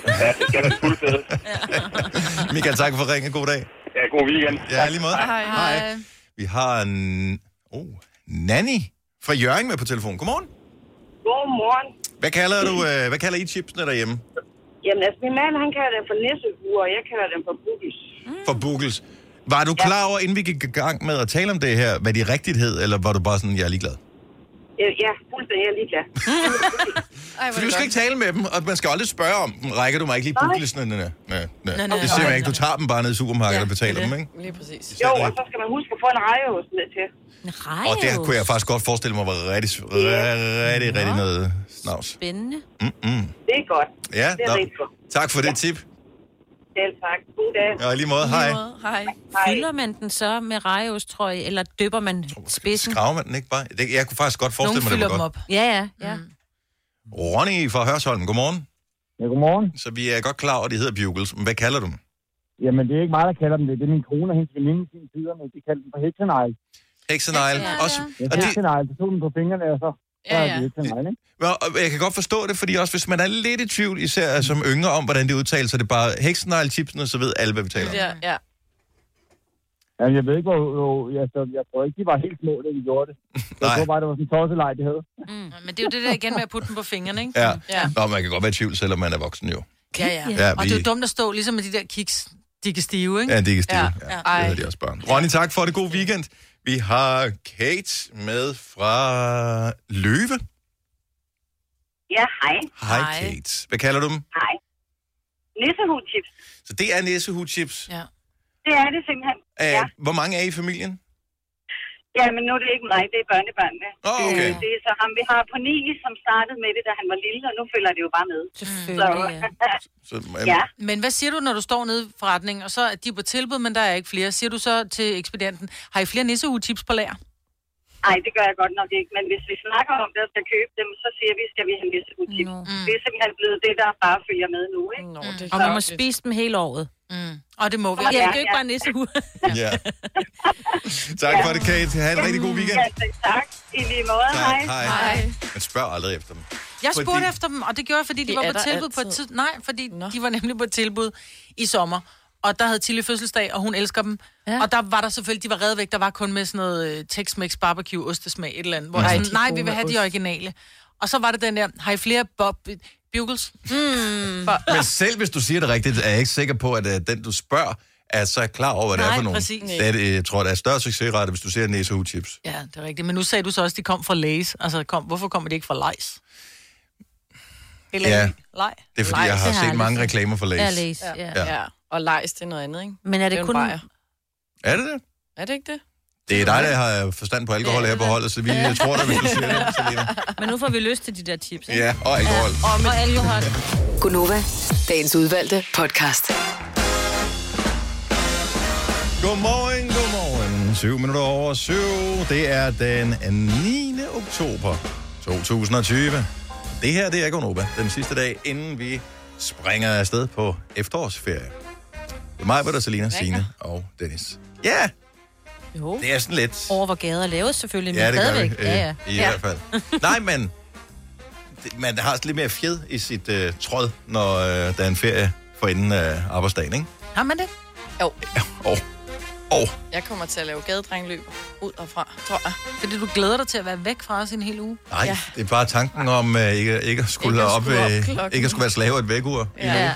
Speaker 13: Ja, det skal være fuldt fedt.
Speaker 1: Michael, tak for ringen. God dag.
Speaker 13: Ja, god weekend.
Speaker 1: Ja, lige måde.
Speaker 13: Hej. Hej.
Speaker 1: Vi har en... Oh, Nanny fra Jørgen med på telefon. Godmorgen.
Speaker 14: Godmorgen.
Speaker 1: Hvad kalder, du, øh, hvad kalder I chipsene derhjemme?
Speaker 14: Jamen, altså, min mand, han kalder dem for nissehuer, og jeg kalder dem for buggies.
Speaker 1: for Bugles. Var du klar over, inden vi gik i gang med at tale om det her, hvad de rigtigt hed, eller var du bare sådan, jeg er ligeglad?
Speaker 14: Øh, ja, fuldstændig, jeg er ligeglad. Ej,
Speaker 1: For du skal ikke tale med dem, og man skal aldrig spørge om dem. Rækker du mig ikke lige
Speaker 14: Nej.
Speaker 1: Buglesene? Nej, nej,
Speaker 14: Nej,
Speaker 1: nej.
Speaker 14: nej,
Speaker 1: Det ser man
Speaker 14: nej,
Speaker 1: ikke. Du tager dem bare ned i supermarkedet og betaler dem, ikke?
Speaker 4: Lige præcis.
Speaker 14: Jo, og så skal man huske at få en rejehus med til.
Speaker 2: En
Speaker 1: Og det kunne jeg faktisk godt forestille mig var rigtig, rigtig, rigtig, rigtig noget snavs.
Speaker 2: Spændende.
Speaker 1: Mm-mm.
Speaker 14: Det er godt.
Speaker 1: Ja,
Speaker 14: det er
Speaker 1: nå.
Speaker 14: rigtig godt.
Speaker 1: tak for det tip.
Speaker 14: Selv tak. God dag.
Speaker 1: Ja, i lige måde. Hej.
Speaker 2: Hej. Fylder man den så med rejeostrøg, eller døber man spidsen?
Speaker 1: Graver man den ikke bare? Det- Jeg kunne faktisk godt forestille mig, det var godt. Mm.
Speaker 2: Ja, ja. ja.
Speaker 1: Ronny fra Hørsholm, godmorgen.
Speaker 15: Ja, godmorgen.
Speaker 1: Så vi er godt klar over, at de hedder Bugles. Men hvad kalder du dem?
Speaker 15: Jamen, det er ikke mig, der kalder dem det. Det er min kone og hendes veninde i sin tid, men de kalder dem for heksenegl.
Speaker 1: Heksenegl. Også,
Speaker 15: Ja,
Speaker 1: og det,
Speaker 15: heksenegl. Så tog den på fingrene, og så, så
Speaker 1: Ja,
Speaker 15: ja,
Speaker 1: ja.
Speaker 15: ja. er det heksenegl, ikke?
Speaker 1: Nå, og jeg kan godt forstå det, fordi også hvis man er lidt i tvivl, især som yngre, om hvordan det udtales, så er det bare heksenegl, chipsene, så ved alle, hvad vi taler om.
Speaker 4: Ja,
Speaker 2: Mm.
Speaker 4: ja.
Speaker 15: Jamen, jeg ved ikke, hvor... hvor altså, jeg tror ikke, de var helt små, da de gjorde det. Jeg tror bare, det var sådan en tosseleg, de havde.
Speaker 3: Mm. Men det er jo det der igen med at putte dem på fingrene, ikke?
Speaker 1: Ja.
Speaker 3: Ja,
Speaker 1: Nå, man kan godt være i tvivl, selvom man er voksen jo.
Speaker 3: ja. ja.
Speaker 1: Ja,
Speaker 3: ja Og det er
Speaker 1: vi-
Speaker 3: jo dumt at stå ligesom med de der kiks. De kan stive, ikke?
Speaker 1: Ja, de kan stive. Ja,
Speaker 3: ja.
Speaker 1: Det hedder de også børn. Ronny, tak for det. God weekend. Vi har Kate med fra Løve.
Speaker 16: Ja, hej.
Speaker 1: Hej, Kate. Hvad kalder du dem?
Speaker 16: Hej. Nissehudchips.
Speaker 1: Så det er næsehudchips.
Speaker 3: Ja.
Speaker 16: Det er det simpelthen.
Speaker 1: Æh, ja. Hvor mange er I i familien?
Speaker 16: Ja, men nu er det ikke mig, det er børnebørnene.
Speaker 1: Åh, okay.
Speaker 16: det er så ham, vi har på 9, som startede med det, da han var lille, og nu følger det jo bare med.
Speaker 3: Selvfølgelig,
Speaker 16: Så,
Speaker 1: Så,
Speaker 16: ja.
Speaker 3: Men hvad siger du, når du står nede i forretningen, og så er de på tilbud, men der er ikke flere? Siger du så til ekspedienten, har I flere nissehue-tips på lager?
Speaker 16: Nej, det gør jeg godt nok ikke, men hvis vi snakker om det og skal købe dem, så siger vi, skal vi have nissehudchips. Mm. Det er simpelthen blevet det, der bare følger med nu, ikke? Nå, det
Speaker 2: Og man må spise dem hele året.
Speaker 3: Mm. Og det må vi.
Speaker 2: Ja, det
Speaker 16: Ja,
Speaker 2: er jo ikke
Speaker 16: ja.
Speaker 2: bare nissehue.
Speaker 1: Ja. tak for det, Kate. Ha' en rigtig god weekend.
Speaker 16: Ja, tak. I lige måde.
Speaker 1: Tak.
Speaker 16: Hej.
Speaker 1: Hej.
Speaker 3: Hej.
Speaker 1: Man spørger aldrig efter dem.
Speaker 3: Jeg spurgte
Speaker 1: Fordi-
Speaker 3: fordi... efter dem, og det gjorde jeg, fordi de,
Speaker 4: De
Speaker 3: var
Speaker 4: er
Speaker 3: på
Speaker 4: der
Speaker 3: tilbud på et
Speaker 4: altid.
Speaker 3: tid. Nej, fordi Nå. de var nemlig på et tilbud i sommer. Og der havde Tilly fødselsdag, og hun elsker dem. Ja. Og der var der selvfølgelig, de var reddet væk, der var kun med sådan noget øh, Tex-Mex barbecue ostesmag et eller andet. Hvor
Speaker 8: Nej,
Speaker 3: nej,
Speaker 8: de
Speaker 3: sådan,
Speaker 8: er
Speaker 3: nej,
Speaker 8: gode
Speaker 3: vi vil
Speaker 8: med
Speaker 3: have de
Speaker 8: ost."
Speaker 3: originale. Og så var det den der, har I flere Bob Bugles? Mm.
Speaker 1: Men selv hvis du siger det rigtigt, er jeg ikke sikker på, at uh, den, du spørger, er så klar over, hvad det er
Speaker 3: Nej,
Speaker 1: for nogen.
Speaker 3: præcis.
Speaker 1: Det er, det, jeg tror, der er større succesrate, hvis du ser næsehuchips.
Speaker 3: Ja, det er rigtigt. Men nu sagde du så også, at de kom fra Lays. Altså, kom, hvorfor kommer de ikke fra Lays? Eller
Speaker 1: Ja.
Speaker 3: ja. Lej?
Speaker 1: Det er, fordi jeg har
Speaker 3: det
Speaker 1: set
Speaker 3: jeg
Speaker 1: mange
Speaker 3: aldrig set.
Speaker 1: reklamer for Lay's.
Speaker 3: Ja, Lay's,
Speaker 4: Ja.
Speaker 1: Ja.
Speaker 4: ja. Og lejs, det er noget andet, ikke?
Speaker 2: Men er det
Speaker 4: en
Speaker 2: kun-
Speaker 4: bajer.
Speaker 1: Er det det?
Speaker 4: Er det ikke det?
Speaker 1: Det er dig, der har forstand på alkohol her på holdet, så vi jeg tror dig, hvis du siger det.
Speaker 2: Men nu får vi lyst til de der chips.
Speaker 1: Ja, og alkohol.
Speaker 2: Og med alkohol.
Speaker 6: Gunova, dagens udvalgte podcast.
Speaker 1: Godmorgen, godmorgen. 7 minutter over 7. Det er den 9. oktober 2020. Det her, det er Gonova. Den sidste dag, inden vi springer afsted på efterårsferie. Det er mig, Britta, Selina, Signe og Dennis. Ja! Yeah.
Speaker 2: Jo.
Speaker 1: Det er sådan lidt...
Speaker 2: Over hvor gader laves selvfølgelig, men
Speaker 1: Ja, det gør vi.
Speaker 2: stadigvæk.
Speaker 1: Øh,
Speaker 2: Ja, ja.
Speaker 1: I hvert fald. Nej, men det- man har lidt mere fjed i sit øh, tråd, når øh, der er en ferie for inden øh, arbejdsdagen, ikke?
Speaker 3: Har man det?
Speaker 4: Jo.
Speaker 1: Og, og
Speaker 4: Jeg kommer til at lave gadedrengløb ud og fra, tror jeg.
Speaker 3: Fordi du glæder dig til at være væk fra os en hel uge.
Speaker 1: nej, ja. det er bare tanken om øh, ikke, ikke at skulle
Speaker 3: Ikke at
Speaker 1: op,
Speaker 3: skulle op
Speaker 1: øh,
Speaker 3: klokken.
Speaker 1: ikke at skulle være slave af et vækkeur.
Speaker 3: Ja.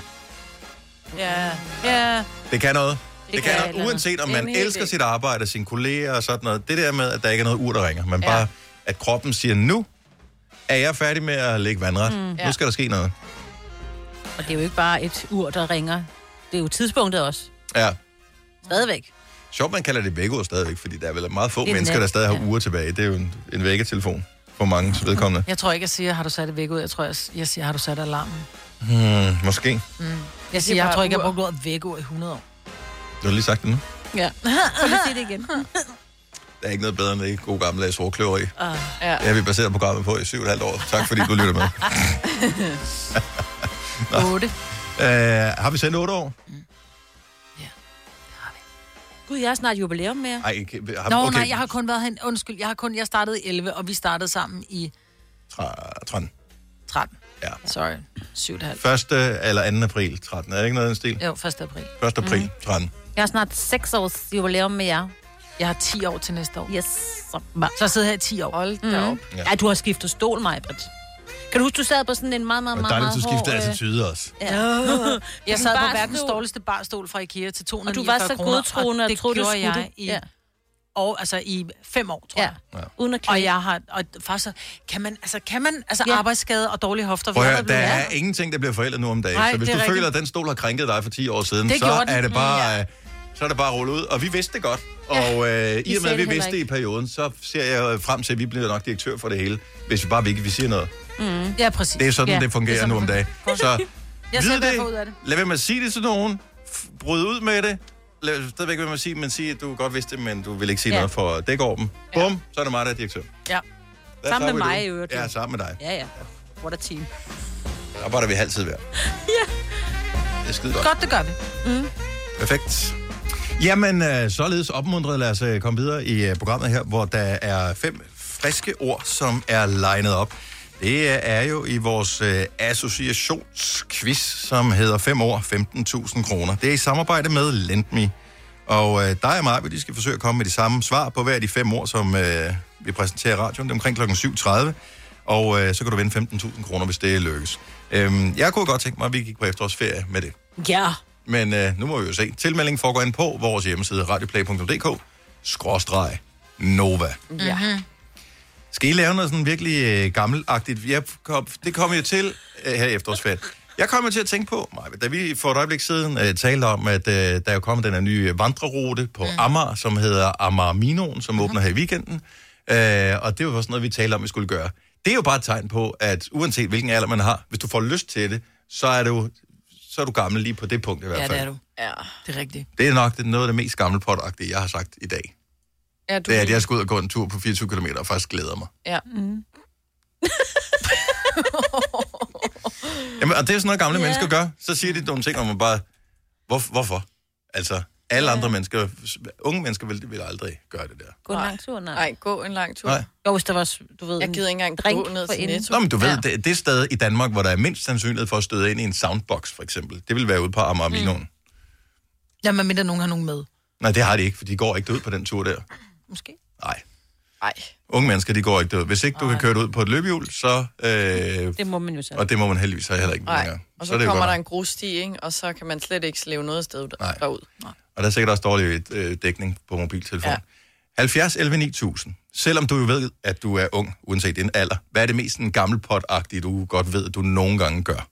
Speaker 3: Ja. Ja.
Speaker 1: Det kan noget.
Speaker 3: Det
Speaker 1: Det, det
Speaker 3: kan
Speaker 1: kan
Speaker 3: et eller
Speaker 1: noget, uanset om
Speaker 3: andet.
Speaker 1: man
Speaker 3: En hel
Speaker 1: elsker
Speaker 3: del.
Speaker 1: sit arbejde og sine kolleger og sådan noget. Det der med, at der ikke er noget ur, der ringer, men
Speaker 4: Ja.
Speaker 1: ja. bare, at kroppen siger, nu er jeg færdig med at lægge vandret.
Speaker 2: Mm.
Speaker 1: Mm.
Speaker 2: Ja.
Speaker 1: Nu skal der ske noget.
Speaker 2: Og det er jo ikke bare et ur, der ringer. Det er jo tidspunktet også.
Speaker 1: Ja.
Speaker 2: Stadigvæk.
Speaker 1: Sjovt, man kalder det vækkeur stadigvæk, fordi der er vel meget få
Speaker 3: Det er
Speaker 1: mennesker,
Speaker 3: nat,
Speaker 1: der stadig har uger tilbage. Det er jo en, en vækketelefon for mange vedkommende.
Speaker 3: Jeg tror ikke, jeg siger, har du sat det væk ud. Jeg tror, jeg, jeg siger, har du sat alarmen.
Speaker 1: Hmm, måske.
Speaker 3: Mm.
Speaker 2: Det er
Speaker 3: Jeg siger, jeg
Speaker 2: bare
Speaker 3: tror ikke, jeg
Speaker 2: ur.
Speaker 3: har brugt ordet væk ud i 100 år.
Speaker 1: Du har lige sagt det nu.
Speaker 2: Ja. Prøv lige at sige det igen.
Speaker 1: Der er ikke noget bedre end det gode gamle sorgkløveri.
Speaker 2: Ah.
Speaker 4: Ja.
Speaker 1: Det har vi baseret programmet på i syv og et halvt år. Tak fordi du lytter med.
Speaker 3: 8.
Speaker 1: Uh, har vi sendt otte år?
Speaker 2: Gud, jeg har snart jubilæum med jer.
Speaker 1: Ej, ikke- har,
Speaker 3: Nå, okay. nej, jeg har kun været hen. Undskyld, jeg har kun, jeg startede i 11, og vi startede sammen i
Speaker 1: Tra- 13.
Speaker 3: 13.
Speaker 1: Ja.
Speaker 3: Sorry. 7,5.
Speaker 1: 1. eller 2. april 13. Er det ikke noget af den stil?
Speaker 3: Jo, 1. april. Mhm.
Speaker 1: 1. april 13.
Speaker 2: Jeg har snart 6 års jubilæum med jer.
Speaker 3: Jeg har 10 år til næste år.
Speaker 2: Yes.
Speaker 3: Så sidder jeg her i 10 år.
Speaker 4: Hold
Speaker 2: da op. Ja. Mhm. du har skiftet stol, mig, Britt. Kan du huske, du sad på sådan en meget, meget,
Speaker 1: Og
Speaker 2: meget,
Speaker 1: dejligt,
Speaker 2: meget
Speaker 1: du
Speaker 2: hård,
Speaker 1: skiftede
Speaker 2: øh,
Speaker 1: attitude også.
Speaker 2: Ja.
Speaker 3: Jeg sad på
Speaker 2: Barstol.
Speaker 3: verdens dårligste barstol fra Ikea til 249
Speaker 2: Og du var så
Speaker 3: kroner,
Speaker 2: godtroende og
Speaker 3: det
Speaker 2: troede, du
Speaker 3: gjorde
Speaker 2: skulle
Speaker 3: jeg
Speaker 2: det.
Speaker 3: i,
Speaker 2: Ja.
Speaker 3: og, altså, i fem år, tror jeg.
Speaker 1: Ja.
Speaker 2: Uden at
Speaker 3: og jeg har, og faktisk, så- kan man, altså, kan man, altså, ja. arbejdsskade og dårlige hofter,
Speaker 1: Prøv at
Speaker 3: vi
Speaker 1: høre,
Speaker 3: andre
Speaker 1: der
Speaker 3: bliver
Speaker 1: er
Speaker 3: værre.
Speaker 1: ingenting, der bliver forældet nu om dagen.
Speaker 3: Nej,
Speaker 1: så hvis
Speaker 3: det
Speaker 1: du
Speaker 3: er
Speaker 1: føler,
Speaker 3: rigtigt.
Speaker 1: at den stol har krænket dig for 10 år siden,
Speaker 3: Det
Speaker 1: så
Speaker 3: gjorde den.
Speaker 1: er det
Speaker 3: Mm,
Speaker 1: bare... øh, Så er det bare rullet ud, og vi vidste det godt. Og øh, i
Speaker 2: sagde
Speaker 1: og med, at
Speaker 2: det
Speaker 1: vi
Speaker 2: heller
Speaker 1: vidste det i
Speaker 2: ikke.
Speaker 1: perioden, så ser jeg øh, frem til, at vi bliver nok direktør for det hele, hvis vi bare ikke vi siger noget.
Speaker 3: Mm. Ja, præcis.
Speaker 1: Det er sådan,
Speaker 3: ja.
Speaker 1: det fungerer nu om dagen. Så
Speaker 3: Jeg
Speaker 1: vid
Speaker 3: ser
Speaker 1: det,
Speaker 3: derfor ud af det.
Speaker 1: lad være med at sige det til nogen, F- bryd ud med det, lad stadigvæk være med at sige, men sig, at du godt vidste det, men du vil ikke sige
Speaker 2: Ja.
Speaker 1: ja. noget for at dække over dem. Bum, så er det mig, der er direktør.
Speaker 2: øh, Ja.
Speaker 1: That's
Speaker 2: Sammen
Speaker 1: how
Speaker 2: med
Speaker 1: we
Speaker 2: mig
Speaker 1: do.
Speaker 2: i øvrigt.
Speaker 1: Ja, sammen med dig.
Speaker 2: Ja, ja. What a team.
Speaker 1: Der arbejder vi altid hver.
Speaker 2: Ja.
Speaker 1: Det er skide godt.
Speaker 3: Godt, det gør vi. Mm.
Speaker 1: Perfekt. Jamen, øh, således opmuntret, lad os øh, komme videre i øh, programmet her, hvor der er fem friske ord, som er legnet op. Det øh, er jo i vores øh, associationsquiz, som hedder 5 år 15.000 kroner. Det er i samarbejde med Lendme. Og øh, dig og mig, de skal forsøge at komme med de samme svar på hver af de fem ord, som øh, vi præsenterer i radioen. Det er omkring kl. 7.30. Og øh, så kan du vinde 15.000 kroner, hvis det lykkes. Øhm, jeg kunne godt tænke mig, at vi gik på efterårsferie med det.
Speaker 2: Ja.
Speaker 1: Men øh, nu må vi jo se. Tilmeldingen foregår ind på vores hjemmeside radioplay.dk skråstreg Nova.
Speaker 4: Ja.
Speaker 17: Mm-hmm.
Speaker 1: Skal I lave noget sådan virkelig øh, gammelagtigt? Jeg kom, det kom jo til øh, her i efterårsferien. Jeg kom jo til at tænke på, Maja, da vi for et øjeblik siden øh, talte om, at øh, der er jo kommet den her nye vandrerute på mm. Amager, som hedder Amager Minoen, som åbner her i weekenden. Øh, og det var sådan noget, vi talte om, vi skulle gøre. Det er jo bare et tegn på, at uanset hvilken alder man har, hvis du får lyst til det, så er du, så er du gammel lige på det punkt i hvert
Speaker 3: Ja,
Speaker 1: fald.
Speaker 3: det er du.
Speaker 4: Ja.
Speaker 3: Det er rigtigt.
Speaker 1: Det er nok det, noget af det mest gammelpotagtige, jeg har sagt i dag.
Speaker 4: Ja,
Speaker 1: Du det er, at jeg skal ud og gå en tur på 24 km og faktisk glæder mig.
Speaker 4: Ja. Mm.
Speaker 1: Jamen, og det er sådan noget, gamle
Speaker 4: Ja.
Speaker 1: yeah. mennesker gør. Så siger de nogle ting, og man bare, hvor, hvorfor? Altså, alle yeah. andre mennesker, unge mennesker vil, vil aldrig gøre det der.
Speaker 2: Gå en lang tur, nej.
Speaker 4: Nej, gå en lang tur.
Speaker 1: Nej.
Speaker 2: Jo, hvis der var, du ved,
Speaker 4: Jeg gider ikke engang
Speaker 2: drink
Speaker 4: gå ned
Speaker 2: for
Speaker 4: til
Speaker 2: inden.
Speaker 4: Netto.
Speaker 1: Nå, men du ved, ja. det, det sted i Danmark, hvor der er mindst sandsynlighed for at støde ind i en soundbox, for eksempel, det vil være ude på Amager mm.
Speaker 3: Ja, men mindre nogen har nogen med.
Speaker 1: Nej, det har de ikke, for de går ikke ud på den tur der.
Speaker 3: Måske.
Speaker 1: Nej.
Speaker 4: Nej.
Speaker 1: Unge mennesker, de går ikke ud. Hvis ikke du kan køre det ud på et løbehjul, så... Øh,
Speaker 2: Det må man jo selv.
Speaker 1: og det må man heldigvis heller ikke
Speaker 4: Nej,
Speaker 1: længere.
Speaker 4: og
Speaker 1: er
Speaker 4: så,
Speaker 1: det
Speaker 4: så
Speaker 1: jo
Speaker 4: kommer
Speaker 1: godt
Speaker 4: der en grussti, ikke? og så kan man slet ikke slæve noget sted der, derud. Nej.
Speaker 1: Og der er sikkert også dårlig øh, dækning på mobiltelefon.
Speaker 4: Ja.
Speaker 1: Ja. 70 11 9000. Selvom du jo ved, at du er ung, uanset din alder, hvad er det mest en gammel potagtige, du godt ved, at du nogle gange gør?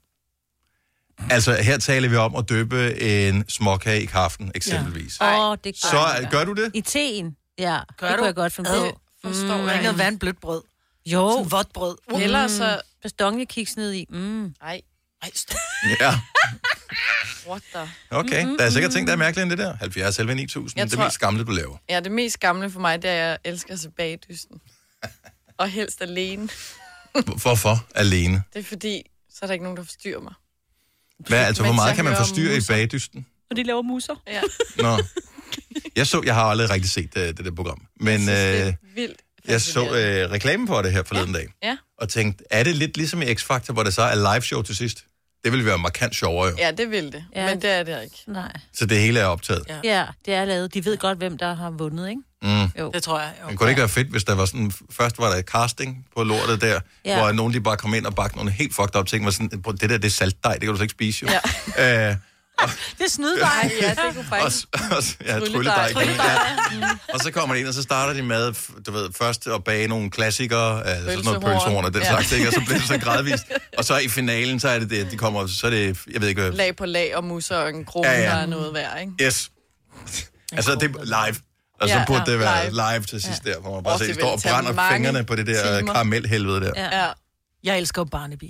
Speaker 4: Mm.
Speaker 1: Altså, her taler vi om at døbe en småkage i kaften, eksempelvis.
Speaker 2: Åh, oh, det
Speaker 1: Så, øh, gør du det?
Speaker 2: I teen. Ja,
Speaker 3: Gør
Speaker 2: det
Speaker 3: du?
Speaker 2: kunne jeg godt finde
Speaker 3: Ad,
Speaker 2: på. Mm.
Speaker 3: forstår jeg ikke. Hvad er en blødt brød?
Speaker 2: Jo.
Speaker 3: Sådan vådt brød.
Speaker 2: Mm. Eller
Speaker 3: Ellers
Speaker 2: så
Speaker 3: så-
Speaker 2: pastonjekiks ned i. Mm.
Speaker 4: Ej.
Speaker 3: Ej, stop.
Speaker 1: Ja,
Speaker 4: What the?
Speaker 1: okay.
Speaker 2: Mm-hmm.
Speaker 1: Der er sikkert ting, der er mærkeligere end det der. 70, 11, 9000.
Speaker 4: Mm-hmm. Jeg
Speaker 1: Det er
Speaker 4: tror-
Speaker 1: mest gamle, du laver.
Speaker 4: Ja, det mest gamle for mig, det er, at jeg elsker at se bagdysten. Og helst alene.
Speaker 1: Hvorfor alene?
Speaker 4: Det er fordi, så er der ikke nogen, der forstyrrer mig.
Speaker 1: Hvad, altså, hvor
Speaker 4: Mens
Speaker 1: meget
Speaker 4: jeg
Speaker 1: kan man
Speaker 4: hører om
Speaker 1: forstyrre i
Speaker 4: muser.
Speaker 1: bagdysten?
Speaker 2: Og de laver muser.
Speaker 4: Ja.
Speaker 1: Nå. Jeg så, jeg har aldrig rigtig set uh, det der program, men uh,
Speaker 4: Vildt.
Speaker 1: jeg så uh, reklamen på det her forleden dag,
Speaker 4: Ja.
Speaker 1: og tænkte, er det lidt ligesom i X-Factor, hvor det så er live show til sidst? Det ville være markant sjovere jo.
Speaker 4: Ja, det vil det. Ja. Men det er det ikke.
Speaker 2: Nej.
Speaker 1: Så det hele er optaget.
Speaker 2: Ja. ja, det er lavet. De ved godt, hvem der har vundet, ikke?
Speaker 1: Mm.
Speaker 2: Jo.
Speaker 3: Det tror jeg.
Speaker 1: Men kunne det ikke være fedt, hvis der var sådan, først var der et casting på lortet der,
Speaker 2: Ja.
Speaker 1: ja. hvor nogen de bare kom ind og bagte nogle helt fucked up ting, var sådan, "Prøv, det der, det er saltdej, det kan du så ikke spise jo. Ja. Øh,
Speaker 3: Det er snyde dig.
Speaker 1: Ja,
Speaker 4: ja, det kunne
Speaker 1: og, s- og, s- ja, trylledej. kan man-
Speaker 3: Trylledej. Mm.
Speaker 1: Ja. Og så kommer de ind, og så starter de med, f- du ved, først at bage nogle klassikere, altså sådan noget
Speaker 4: Pølsehorn.
Speaker 1: pølsehorn og den
Speaker 4: Ja.
Speaker 1: slags, ikke? og så bliver det så gradvist. Og så i finalen, så er det det, at de kommer, så er det, jeg ved ikke, hvad-
Speaker 4: Lag på lag og musser og en krone,
Speaker 1: Ja,
Speaker 4: ja,
Speaker 1: ja.
Speaker 4: ja. der er noget værd, ikke?
Speaker 1: yes. Altså, det er live. Og så
Speaker 4: Ja,
Speaker 1: burde
Speaker 4: ja,
Speaker 1: det være
Speaker 4: live.
Speaker 1: live, til sidst der, hvor man bare
Speaker 4: Åh,
Speaker 1: ser, de
Speaker 4: det
Speaker 1: står
Speaker 4: vil
Speaker 1: og
Speaker 4: tage
Speaker 1: brænder
Speaker 4: mange
Speaker 1: fingrene på det der
Speaker 4: timer.
Speaker 1: karamelhelvede der.
Speaker 2: Ja.
Speaker 4: ja.
Speaker 3: Jeg elsker jo Barnaby.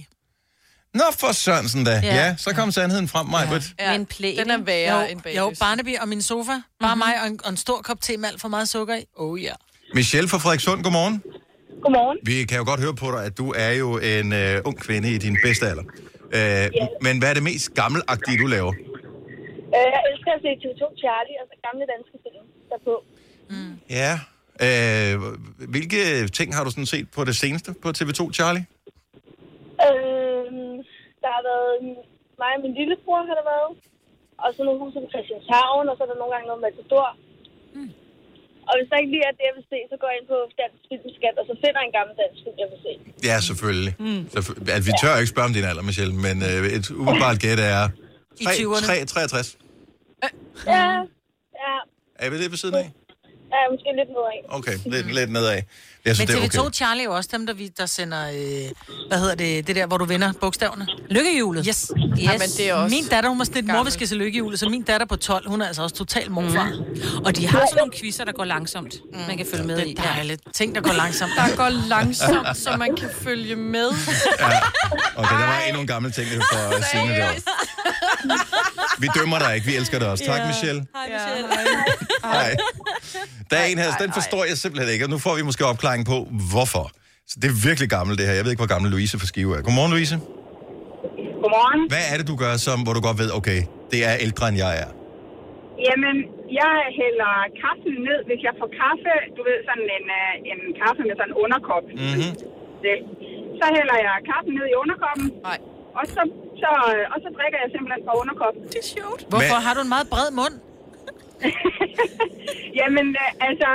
Speaker 1: Nå, for Sørensen da.
Speaker 3: Ja.
Speaker 1: Ja, ja så kom sandheden frem, Majbrit.
Speaker 3: Ja,
Speaker 4: en plæne. Den er værre end bagdysten.
Speaker 3: Jo, Barnaby og min sofa. Bare mm-hmm. mig og en, og en stor kop te med alt for meget sukker i. Oh ja. Yeah.
Speaker 1: Michelle fra Frederikssund, godmorgen.
Speaker 18: Godmorgen.
Speaker 1: Vi kan jo godt høre på dig, at du er jo en øh, ung kvinde i din bedste alder. Øh, Men hvad er det mest gammelagtige, du laver?
Speaker 18: Øh, jeg elsker at se TV2 Charlie og så gamle danske film derpå.
Speaker 1: Ja. Øh, hvilke ting har du sådan set på det seneste på TV2, Charlie?
Speaker 18: Øh, der har været mig og min lillebror har der været. Og så nogle huse på Christianshavn, og så er der nogle gange noget Matador. Mm. Og hvis der ikke lige er det, jeg vil se, så går jeg ind på Dansk Filmskat, og så finder jeg en gammel dansk film, jeg vil se.
Speaker 1: Ja, selvfølgelig. Mm. Selvfø- altså, vi tør ikke spørge om din alder, Michelle, men øh, et umiddelbart gæt er...
Speaker 18: I
Speaker 1: tre-
Speaker 18: 20'erne.
Speaker 1: tre- 63.
Speaker 18: Ja, ja,
Speaker 1: Er vi det ved siden af?
Speaker 18: ja måske lidt nedad.
Speaker 1: Okay, lidt, lidt nedad. Jeg
Speaker 3: Men
Speaker 1: synes, det
Speaker 3: TV2
Speaker 1: er okay.
Speaker 3: Charlie er jo også dem, der, vi, der sender, øh, hvad hedder det, det der, hvor du vender bogstaverne. Lykkehjulet. Yes. yes.
Speaker 4: Ja, men det er også
Speaker 3: min datter, hun var sådan lidt mor, vi
Speaker 4: gammelt.
Speaker 3: skal se lykkehjulet, så min datter på 12, hun er altså også totalt morfar. Mm.
Speaker 2: Og de har sådan nogle quizzer, der går langsomt. Mm. Man kan følge med i.
Speaker 3: Det er dejligt. Ting, der går langsomt.
Speaker 4: Der går langsomt, så man kan følge med.
Speaker 1: Okay, der var endnu en gammel ting for øh, siden der. Vi dømmer dig ikke, vi elsker dig også. Tak, Michelle.
Speaker 2: Hej, Michelle.
Speaker 1: Nej. Der er en her, den forstår jeg simpelthen ikke, og nu får vi måske opklaring på, hvorfor. Så det er virkelig gammelt, det her. Jeg ved ikke, hvor gammel Louise fra Skive er. Godmorgen, Louise.
Speaker 18: Godmorgen.
Speaker 1: Hvad er det, du gør, som, hvor du godt ved, okay, det er ældre, end jeg er?
Speaker 18: Jamen, jeg hælder kaffen ned, hvis jeg får kaffe. Du ved, sådan en, øh, en kaffe med sådan en underkop.
Speaker 1: Mm-hmm.
Speaker 18: det. Så hælder jeg kaffen ned i underkoppen.
Speaker 4: Nej.
Speaker 18: Og så, så, øh, og så drikker jeg simpelthen fra underkoppen.
Speaker 3: Det er sjovt. Hvorfor
Speaker 1: Men-
Speaker 3: har du en meget bred mund?
Speaker 18: Jamen, øh, altså,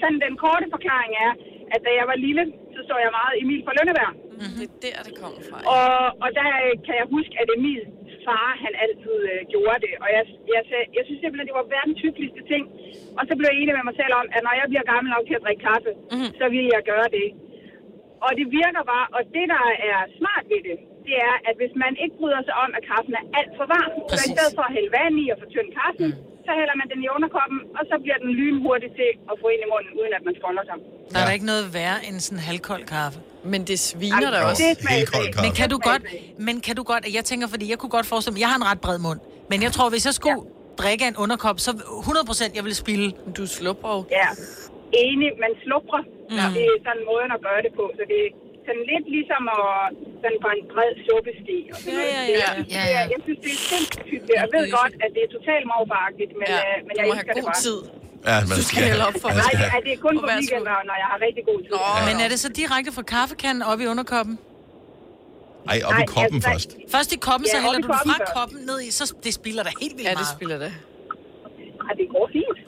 Speaker 18: sådan den korte forklaring er, at da jeg var lille, så så jeg meget Emil fra Lønneberg.
Speaker 3: Mhm.
Speaker 4: Mm-hmm. Det er der, det kommer fra.
Speaker 18: Og, og der øh, kan jeg huske, at Emil far, han altid øh, gjorde det. Og jeg, jeg, sagde, jeg synes simpelthen, det var verdens hyggeligste ting. Og så blev jeg enig med mig selv om, at når jeg bliver gammel nok til at drikke kaffe, mm-hmm. så vil jeg gøre det. Og det virker bare, og det der er smart ved det, det er, at hvis man ikke bryder sig om, at kaffen er alt for varm, så i
Speaker 19: Præcis.
Speaker 18: stedet for at hælde vand i og fortynde kaffen, så hælder man den i underkoppen, og så bliver den lynhurtigt til at få ind i munden, uden at man folder sig.
Speaker 3: Der er ja. der ikke noget værre end sådan en halvkold kaffe.
Speaker 4: Men det sviner
Speaker 18: der også. Det smager Helt kold ikke. kaffe.
Speaker 3: Men kan du godt, men kan du godt, jeg tænker, fordi jeg kunne godt forestille mig, jeg har en ret bred mund, men jeg tror, hvis jeg skulle ja. drikke af en underkop, så 100% jeg ville spille.
Speaker 4: Du slupper jo.
Speaker 18: Ja, enig. Man slupper. Mm. Det er sådan måden at gøre det på. Så det er sådan lidt ligesom at sådan på en bred suppeske. Og sådan noget.
Speaker 4: ja,
Speaker 18: Det-
Speaker 4: ja.
Speaker 18: det-
Speaker 4: Ja,
Speaker 18: det
Speaker 4: ja.
Speaker 18: er- Jeg synes, det er sindssygt. Jeg ved godt, at det er totalt morfagtigt, men,
Speaker 4: Ja,
Speaker 18: ja, men
Speaker 4: du
Speaker 18: jeg
Speaker 4: må have
Speaker 18: elsker det
Speaker 4: god
Speaker 18: bare.
Speaker 4: tid.
Speaker 1: Ja, man
Speaker 4: skal hælde op for
Speaker 1: man skal
Speaker 18: Nej,
Speaker 1: have-
Speaker 18: nej, det er kun
Speaker 4: Og
Speaker 18: på
Speaker 4: vær så god.
Speaker 18: weekender, når jeg har rigtig god tid.
Speaker 3: Ja. Men er det så direkte fra kaffekanden op i underkoppen?
Speaker 1: Ej, op i koppen
Speaker 3: altså-
Speaker 1: først.
Speaker 3: Først i koppen,
Speaker 18: Ja,
Speaker 3: så
Speaker 18: op
Speaker 3: hælder
Speaker 18: i
Speaker 3: du den
Speaker 18: koppen
Speaker 3: fra
Speaker 18: først.
Speaker 3: koppen ned i, så det spiller da helt vildt
Speaker 4: Ja, det
Speaker 3: meget.
Speaker 4: spiller det.
Speaker 18: Ej, det går fint.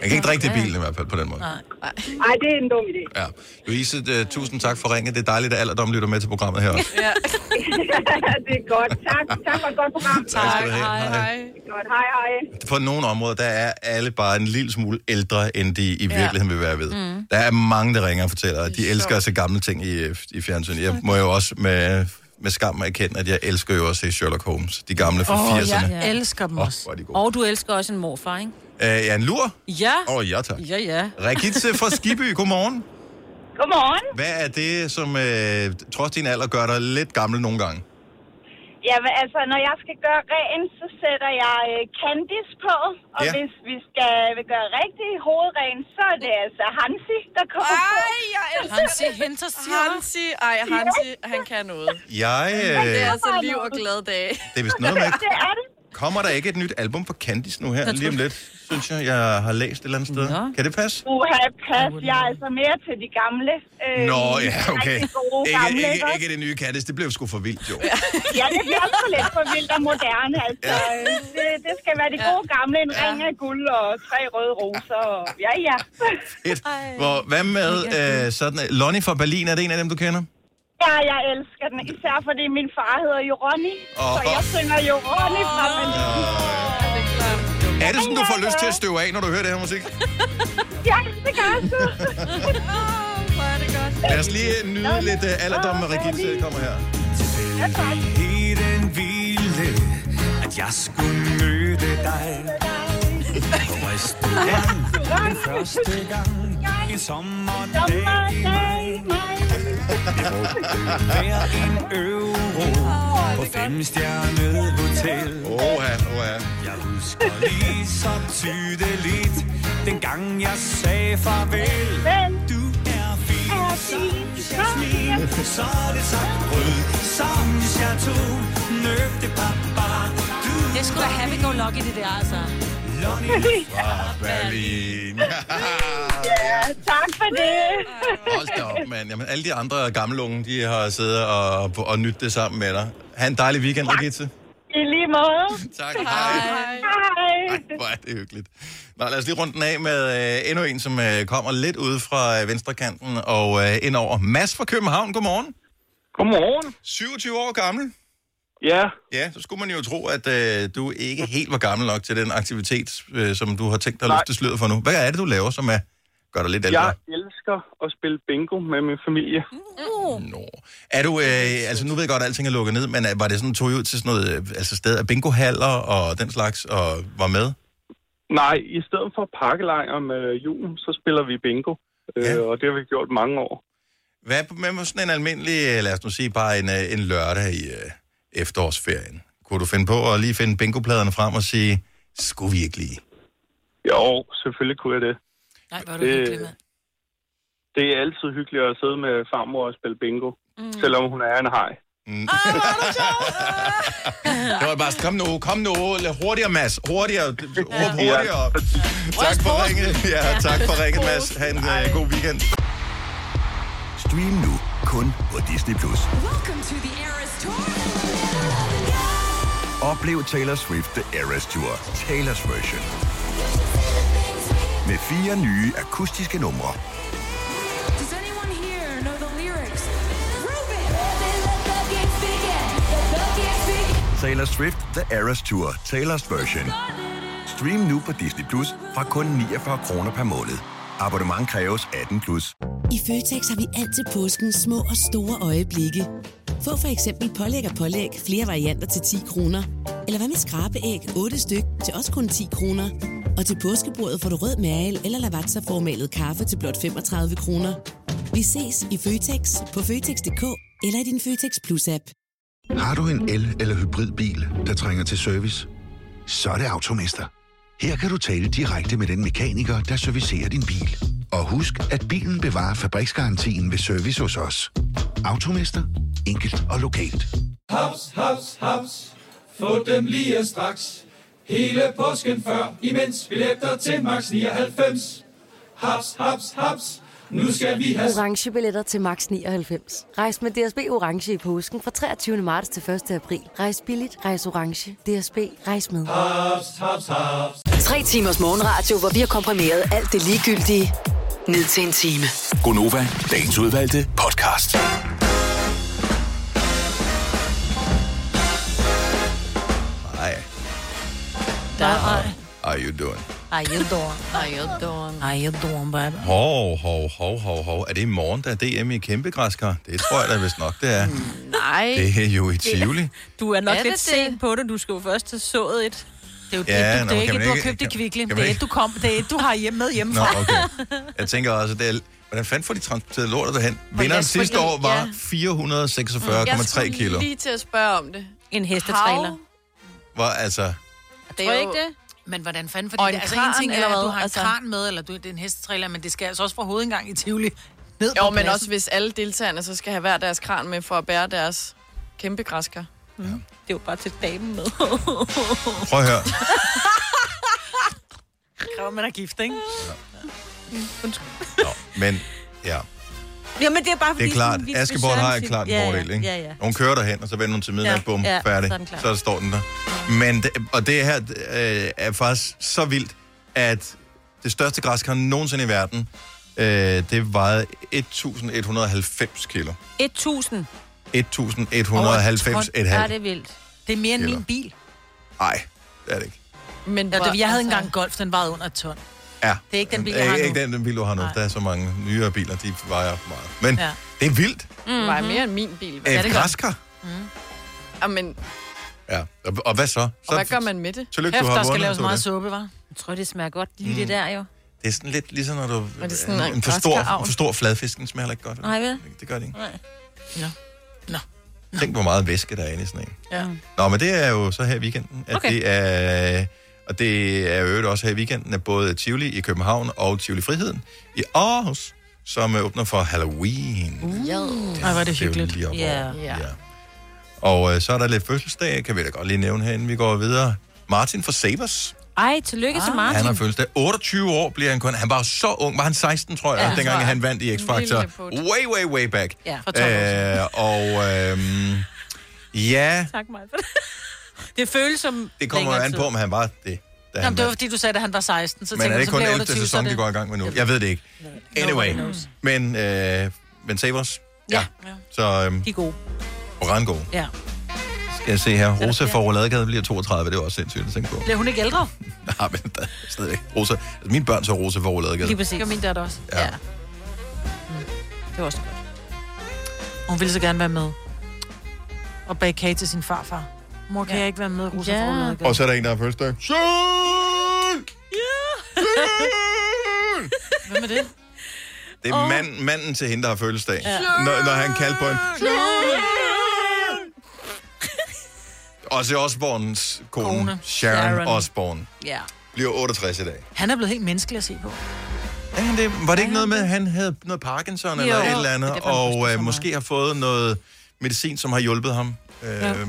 Speaker 1: Man kan ikke drikke det i bilen i hvert fald på den måde.
Speaker 18: Nej, det er en dum idé.
Speaker 1: Ja. Louise, øh, tusind tak for ringet. Det er dejligt, at alderdom lytter med til programmet her også.
Speaker 18: Ja. det er godt. Tak, tak for et godt program.
Speaker 1: Tak skal du have. Hej, Hej. hej.
Speaker 18: Det er Godt, hej, hej.
Speaker 1: På nogle områder, der er alle bare en lille smule ældre, end de i
Speaker 18: Ja.
Speaker 1: virkeligheden vil være ved.
Speaker 18: Mm.
Speaker 1: Mm. Der er mange, der ringer og fortæller, at de elsker at se gamle ting i, øh, i fjernsynet. Jeg må jo også med, med skam erkende, at jeg elsker jo også at se Sherlock Holmes. De gamle fra
Speaker 2: Åh,
Speaker 1: 80'erne.
Speaker 2: jeg elsker dem også.
Speaker 1: Hvor er de gode.
Speaker 2: Og du elsker også en morfar, ikke?
Speaker 1: Øh, ja, en lur?
Speaker 2: Ja.
Speaker 1: Åh, oh, ja tak.
Speaker 2: Ja, ja.
Speaker 1: Rikitze fra Skiby, godmorgen.
Speaker 19: Godmorgen.
Speaker 1: Hvad er det, som øh, trods din alder gør dig lidt gammel nogle gange?
Speaker 19: Jamen altså, når jeg skal gøre ren, så sætter jeg øh, Candice på. Og ja.
Speaker 1: Ja.
Speaker 19: hvis vi skal øh, gøre rigtig hovedren, så er det altså Hansi, der kommer på.
Speaker 4: Ej, jeg elsker Hansi det. Hansi, ej, Hansi, han kan noget.
Speaker 1: Jeg, øh,
Speaker 4: Det er altså liv og glade dage.
Speaker 1: Det er vist noget med-
Speaker 19: Det er det.
Speaker 1: kommer der ikke et nyt album fra Candice nu her
Speaker 19: Jeg
Speaker 1: lige om
Speaker 19: tror-
Speaker 1: lidt, synes jeg, jeg har læst et eller andet sted. Ja. Kan det passe?
Speaker 19: Uha, pas. Jeg er altså mere til de gamle. Øh,
Speaker 1: Nå,
Speaker 19: de
Speaker 1: ja, okay.
Speaker 19: Rigtig gode
Speaker 1: Ikke,
Speaker 19: gamle,
Speaker 1: ikke,
Speaker 19: også?
Speaker 1: ikke det nye Candice, det blev sgu for vildt, jo.
Speaker 19: Ja, det bliver også lidt for vildt og moderne. Altså, Øh, det, det skal være de gode gamle, en ring af guld og tre røde roser. Og, ja, ja.
Speaker 1: Et. Hvor, hvad med øh, sådan... Lonnie fra Berlin, er det en af dem, du kender?
Speaker 19: Ja, jeg elsker den, især fordi min far hedder jo Ronny.
Speaker 1: Åh.
Speaker 19: Så jeg synger jo Ronny fra Berlin.
Speaker 1: Er det sådan, du får lyst til at støve af, når du hører det her musik?
Speaker 19: Ja, det gør jeg så.
Speaker 1: Lad os lige øh, nyde lidt øh, alderdom med Regitze, kommer her.
Speaker 5: Tilfældigheden ville, at jeg skulle møde dig. På restaurant den første gang, en sommerdag i maj. Jeg brugte hver en euro på femstjernet hotel.
Speaker 1: Oha, oha.
Speaker 5: Jeg husker lige så tydeligt, dengang jeg sagde farvel. Du er fin, som jasmin, så er det sagt rød, som chateau, nøgte papa. Du
Speaker 8: Det skulle da have go lucky, det der, altså.
Speaker 5: Lonnie
Speaker 1: Fra Berlin.
Speaker 19: Ja, tak for det.
Speaker 1: Hold da op, mand. Jamen, alle de andre gamle unge, de har siddet og, og nyttet det sammen med dig. Ha' en dejlig weekend, Regitze.
Speaker 19: I lige måde.
Speaker 1: Tak.
Speaker 19: Hej. Hej.
Speaker 1: Hvor er det hyggeligt. Nå, lad os lige runde den af med øh, endnu en, som øh, kommer lidt ude fra øh, venstre kanten og øh, indover. Mads fra København, godmorgen.
Speaker 20: Godmorgen.
Speaker 1: 27 år gammel.
Speaker 20: Ja.
Speaker 1: Ja, så skulle man jo tro, at øh, du ikke helt var gammel nok til den aktivitet, øh, som du har tænkt dig at
Speaker 20: Nej.
Speaker 1: løfte sløret for nu. Hvad er det, du laver, som er, gør dig lidt ældre?
Speaker 20: Jeg elsker at spille bingo med min familie.
Speaker 1: Nå. Er du, øh, altså nu ved jeg godt, at alting er lukket ned, men øh, var det sådan, tog I ud til sådan noget, øh, altså sted af bingohaller og den slags, og var med?
Speaker 20: Nej, i stedet for pakkelejr om øh, julen, så spiller vi bingo. Ja. Øh, og det har vi gjort mange år.
Speaker 1: Hvad med sådan en almindelig, øh, lad os nu sige, bare en, øh, en lørdag i øh, efterårsferien? Kunne du finde på at lige finde bingopladerne frem og sige, skulle vi ikke lige?
Speaker 20: Jo, selvfølgelig kunne jeg det.
Speaker 8: Nej, hvor
Speaker 1: er du hyggelig,
Speaker 20: Det er altid hyggeligt at sidde med farmor og spille bingo, mm. selvom hun er en hej.
Speaker 1: Mm. Det var bare, sådan, kom nu, kom nu, lad- hurtigere Mads, hurtigere, råb hurtigere. Tak for ringet, ja, tak for ringet Mads. Ha' en øh, god weekend.
Speaker 21: Stream nu kun på Disney+. Plus. Oplev Taylor Swift The Eras Tour, Taylor's version. Med fire nye akustiske numre. Taylor Swift The Eras Tour, Taylor's version. Stream nu på Disney Plus fra kun 49 kroner per måned. Abonnement kræves 18 plus.
Speaker 17: I Føtex har vi altid påsken små og store øjeblikke. Få for eksempel pålæg og pålæg flere varianter til 10 kroner. Eller hvad med skrabeæg 8 styk til også kun 10 kroner. Og til påskebordet får du rød mal eller lavatserformalet kaffe til blot 35 kroner. Vi ses i Føtex på Føtex.dk eller i din Føtex Plus-app.
Speaker 10: Har du en el- eller hybridbil, der trænger til service? Så er det Automester. Her kan du tale direkte med den mekaniker, der servicerer din bil. Og husk, at bilen bevarer fabriksgarantien ved service hos os. Automester. Enkelt og lokalt.
Speaker 5: Haps, haps, haps. Få dem lige straks. Hele påsken før, imens billetter til max 99. Haps, haps, haps. Nu skal vi have
Speaker 12: Orange billetter til max 99. Rejs med DSB Orange i påsken fra 23. marts til 1. april. Rejs billigt, rejs orange. DSB, rejs med.
Speaker 5: haps, haps, haps.
Speaker 6: Tre timers morgenradio, hvor vi har komprimeret alt det ligegyldige ned til en time.
Speaker 7: Gonova, dagens udvalgte podcast.
Speaker 1: Nej,
Speaker 3: Nej.
Speaker 1: are you doing?
Speaker 3: Ej, jeg dår. Ej, jeg dår. Ej, jeg dår, baby.
Speaker 1: Hov, hov, hov, hov, hov. Er det i morgen, der er DM i kæmpegræskar? Det tror jeg da vist nok, det er.
Speaker 4: Nej.
Speaker 1: Det er jo i Tivoli.
Speaker 2: Du er nok
Speaker 4: Er
Speaker 2: er
Speaker 4: det
Speaker 2: lidt
Speaker 4: det?
Speaker 2: sent på det. Du skal jo først have sået et.
Speaker 3: Det er jo
Speaker 1: Ja,
Speaker 3: ja, et,
Speaker 1: nå,
Speaker 3: du, det er
Speaker 1: kan
Speaker 3: ikke,
Speaker 1: man
Speaker 3: et, du har
Speaker 1: ikke-
Speaker 3: købt i
Speaker 1: kan-
Speaker 3: Kvickly.
Speaker 1: kan
Speaker 3: Det
Speaker 1: man
Speaker 3: er et,
Speaker 1: ikke-
Speaker 3: du, kom, det er et, du har hjemme med hjemmefra.
Speaker 1: Nå, okay. Jeg tænker også, det er, hvordan fanden får de transporteret lortet derhen? Vinderen
Speaker 4: lastbilen,
Speaker 1: sidste år var
Speaker 4: ja. Jeg
Speaker 1: 446,3
Speaker 4: skulle
Speaker 1: kilo.
Speaker 4: lige til at spørge om det.
Speaker 2: En hestetræler.
Speaker 1: Hvor altså...
Speaker 3: Det
Speaker 4: Tror
Speaker 3: er
Speaker 4: I
Speaker 3: jo...
Speaker 4: ikke
Speaker 3: ikke
Speaker 4: det?
Speaker 3: det? Men hvordan fanden,
Speaker 4: Og
Speaker 3: fordi
Speaker 4: en
Speaker 3: det, altså
Speaker 4: kran,
Speaker 3: en ting er,
Speaker 4: eller
Speaker 3: at
Speaker 4: hvad?
Speaker 3: du har en
Speaker 4: Altså-
Speaker 3: kran med, eller du, det er en hestetrailer, men det skal altså også fra hovedengang i Tivoli ned
Speaker 4: Jo,
Speaker 3: på
Speaker 4: men
Speaker 3: pladsen.
Speaker 4: også hvis alle deltagerne så skal have hver deres kran med for at bære deres kæmpe græsker. Mm-hmm.
Speaker 2: Mm. Det er jo bare til damen med.
Speaker 1: Prøv at høre.
Speaker 3: Kræver, man er gift, ikke?
Speaker 1: Men ja,
Speaker 2: Jamen, det er bare
Speaker 1: det
Speaker 2: fordi...
Speaker 1: er klart.
Speaker 2: sådan, vi- vi
Speaker 1: Askeborg har
Speaker 2: sådan-
Speaker 1: en klart en
Speaker 2: ja, ja,
Speaker 1: fordel, ikke?
Speaker 2: Ja, ja.
Speaker 1: Hun kører derhen, og så vender hun til midnat,
Speaker 2: Ja,
Speaker 1: bum,
Speaker 2: ja,
Speaker 1: færdig.
Speaker 2: så er den klar.
Speaker 1: Så står den der. Men det, og det her øh, er faktisk så vildt, at det største græskar nogensinde i verden, øh, det vejede 1.190 kilo.
Speaker 2: 1000.
Speaker 1: 1.190 et
Speaker 2: Ja,
Speaker 1: halvt.
Speaker 2: det er vildt.
Speaker 3: Det er mere end
Speaker 1: Eller-
Speaker 3: min bil.
Speaker 1: Nej, det er det ikke.
Speaker 4: Men
Speaker 3: ja, det, jeg havde
Speaker 4: altså-
Speaker 3: engang en golf, den vejede under et ton.
Speaker 1: Ja.
Speaker 3: Det er ikke den bil,
Speaker 1: Øh,
Speaker 3: jeg har
Speaker 1: ikke
Speaker 3: nu.
Speaker 1: den, den bil, du har nu.
Speaker 3: Nej.
Speaker 1: Der er så mange nyere biler, de vejer meget. Men
Speaker 3: Ja.
Speaker 1: ja. det er vildt.
Speaker 4: Mm-hmm. Det var mere end min bil.
Speaker 1: Ja, det græskar.
Speaker 4: Mm. Jamen,
Speaker 1: Ja. Og, og hvad så? så
Speaker 4: og hvad gør man med det?
Speaker 1: Tillykke, du har vundet. Dorte.
Speaker 3: suppe, var.
Speaker 2: Jeg tror, det smager godt lige mm. det
Speaker 1: Mm.
Speaker 2: der, jo.
Speaker 1: Det er sådan lidt ligesom, når du...
Speaker 2: Er det sådan
Speaker 1: en,
Speaker 2: en
Speaker 1: en, for stor,
Speaker 2: græskarravl?
Speaker 1: en for stor fladfisk, den smager heller ikke godt.
Speaker 2: Nej, vel?
Speaker 1: Det gør det ikke.
Speaker 2: Nej.
Speaker 1: Tænk, hvor meget væske der er inde i sådan en.
Speaker 2: Ja.
Speaker 1: Nå, men det er jo så her i weekenden, at
Speaker 2: Okay.
Speaker 1: okay. det er... Og det er jo øvrigt også her i weekenden, at både Tivoli i København og Tivoli Friheden i Aarhus, som øh, åbner for Halloween.
Speaker 3: Uh. Ej, hvor er det
Speaker 1: Det er jo
Speaker 3: hyggeligt.
Speaker 1: lige op
Speaker 3: Ja.
Speaker 1: Ja. Og øh, så er der lidt fødselsdag, kan vi da godt lige nævne her, inden vi går videre. Martin fra Sabers.
Speaker 2: Ej, tillykke ah. til Martin.
Speaker 1: Han har fødselsdag. 28 år bliver han kun. Han var så ung. Var han 16, tror jeg,
Speaker 2: Ja.
Speaker 1: ja, dengang
Speaker 2: Tror
Speaker 1: han vandt i X-Factor.
Speaker 2: Lille put.
Speaker 1: Way, way, way back.
Speaker 2: Ja, for 12 år
Speaker 1: øh, og øhm, ja,
Speaker 2: Tak meget for det. Det føles som...
Speaker 1: det kommer jo
Speaker 2: længere
Speaker 1: an
Speaker 2: tid.
Speaker 1: på, om han var det. Da han
Speaker 3: Jamen, det var
Speaker 1: vandt.
Speaker 3: fordi, du sagde, at han var 16, så
Speaker 1: men
Speaker 3: tænkte
Speaker 1: er
Speaker 3: jeg,
Speaker 1: det
Speaker 3: så
Speaker 1: kun
Speaker 3: bliver
Speaker 1: 11.
Speaker 3: 28, så
Speaker 1: sæson,
Speaker 3: er
Speaker 1: de
Speaker 3: det-
Speaker 1: går i gang med nu? Jeg ved det ikke. Anyway, men, øh, men Sabers,
Speaker 3: Ja.
Speaker 1: så øhm,
Speaker 2: De er gode.
Speaker 1: Brango.
Speaker 3: ja.
Speaker 1: Skal jeg se her. Rosa fra Roladegade bliver 32, det var også sindssygt at tænke på.
Speaker 3: Bliver hun ikke ældre?
Speaker 1: Nej, men der er stadigvæk Rosa. Altså, mine børn så Rosa for
Speaker 3: Lige
Speaker 1: Roladegade.
Speaker 3: præcis. Det var min datter også.
Speaker 1: Ja.
Speaker 3: ja. Det var også godt. Hun ville så gerne være med. Og bage kage til sin farfar. Mor, kan ja. jeg ikke være med, Rosa
Speaker 2: Ja.
Speaker 3: ja.
Speaker 1: Og så er der en, der har fødselsdag. Sol!
Speaker 3: Hvem er det?
Speaker 1: Det er mand, manden til hende, der har fødselsdag. Ja. Når, når han kaldte på en. Ozzy Osbournes kone,
Speaker 3: Kone.
Speaker 1: kone. Sharon,
Speaker 3: Sharon.
Speaker 1: Sharon Osbourne,
Speaker 3: Ja.
Speaker 1: bliver 68 i dag.
Speaker 3: Han er blevet helt menneskelig at se på.
Speaker 1: Er han det? Var det ikke noget med, at han havde noget Parkinson
Speaker 3: Jo.
Speaker 1: eller et eller andet,
Speaker 3: Det er derfor, han
Speaker 1: og øh, måske har fået noget medicin, som har hjulpet ham? Øhm,
Speaker 2: Ja,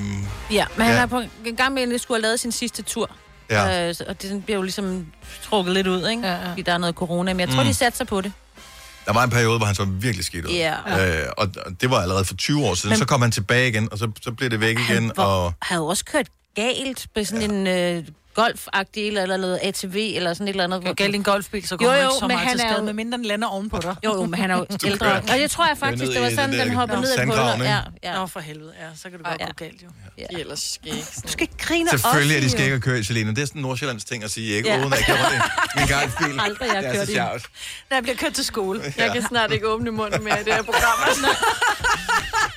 Speaker 2: men han
Speaker 1: Ja.
Speaker 2: er på en gang med, at han skulle have lavet sin sidste tur.
Speaker 1: Ja.
Speaker 2: Øh, så- og det sådan bliver jo ligesom trukket lidt ud, ikke? Ja, ja. Fordi der er noget corona, men jeg tror, mm.
Speaker 1: Mm.
Speaker 2: de satte sig på det.
Speaker 1: Der var en periode, hvor han så virkelig skidt ud.
Speaker 2: Ja.
Speaker 1: Øh, og og det var allerede for 20 år siden.
Speaker 2: Men-
Speaker 1: Men... Så kom han tilbage igen, og så, så blev det væk igen.
Speaker 2: var-
Speaker 1: Og...
Speaker 2: Havde jo også kørt galt på sådan ja. en øh, golfagtig eller, eller noget ATV eller sådan et eller andet. Hvor...
Speaker 3: Galt i en golfbil, så
Speaker 2: Jo,
Speaker 3: kommer jo,
Speaker 2: jo,
Speaker 3: jo, ikke så
Speaker 2: men
Speaker 3: meget
Speaker 2: han
Speaker 3: til
Speaker 2: er
Speaker 3: skade,
Speaker 2: jo-
Speaker 3: med mindre den lander ovenpå dig.
Speaker 2: Jo, jo, men han er jo
Speaker 3: Du
Speaker 2: ældre.
Speaker 3: kører-
Speaker 2: Og det tror jeg faktisk,
Speaker 3: kører
Speaker 2: det
Speaker 3: ned
Speaker 2: var
Speaker 3: i
Speaker 2: sådan,
Speaker 3: den
Speaker 2: den,
Speaker 3: der
Speaker 2: hopper ned i et hul.
Speaker 1: sandgraven, ikke?
Speaker 2: Ja, ja. Ah,
Speaker 3: Nå, for helvede, ja. Så kan du godt gå galt, jo.
Speaker 2: Ja.
Speaker 4: De er ellers skæg.
Speaker 3: Du skal ikke grine
Speaker 1: Selvfølgelig er
Speaker 3: også,
Speaker 1: de skal
Speaker 3: jo.
Speaker 1: ikke at køre i Selena. Det er sådan en Nordsjællands ting at sige, ikke?
Speaker 3: Ja.
Speaker 1: Ja. Uden at jeg gjorde det. Min gang bil.
Speaker 3: Aldrig, jeg
Speaker 1: det
Speaker 3: kørte
Speaker 1: er
Speaker 3: i
Speaker 1: så
Speaker 3: den.
Speaker 1: sjovt.
Speaker 3: Når jeg bliver kørt til skole. Ja.
Speaker 4: Jeg kan snart ikke åbne munden mere i det her program.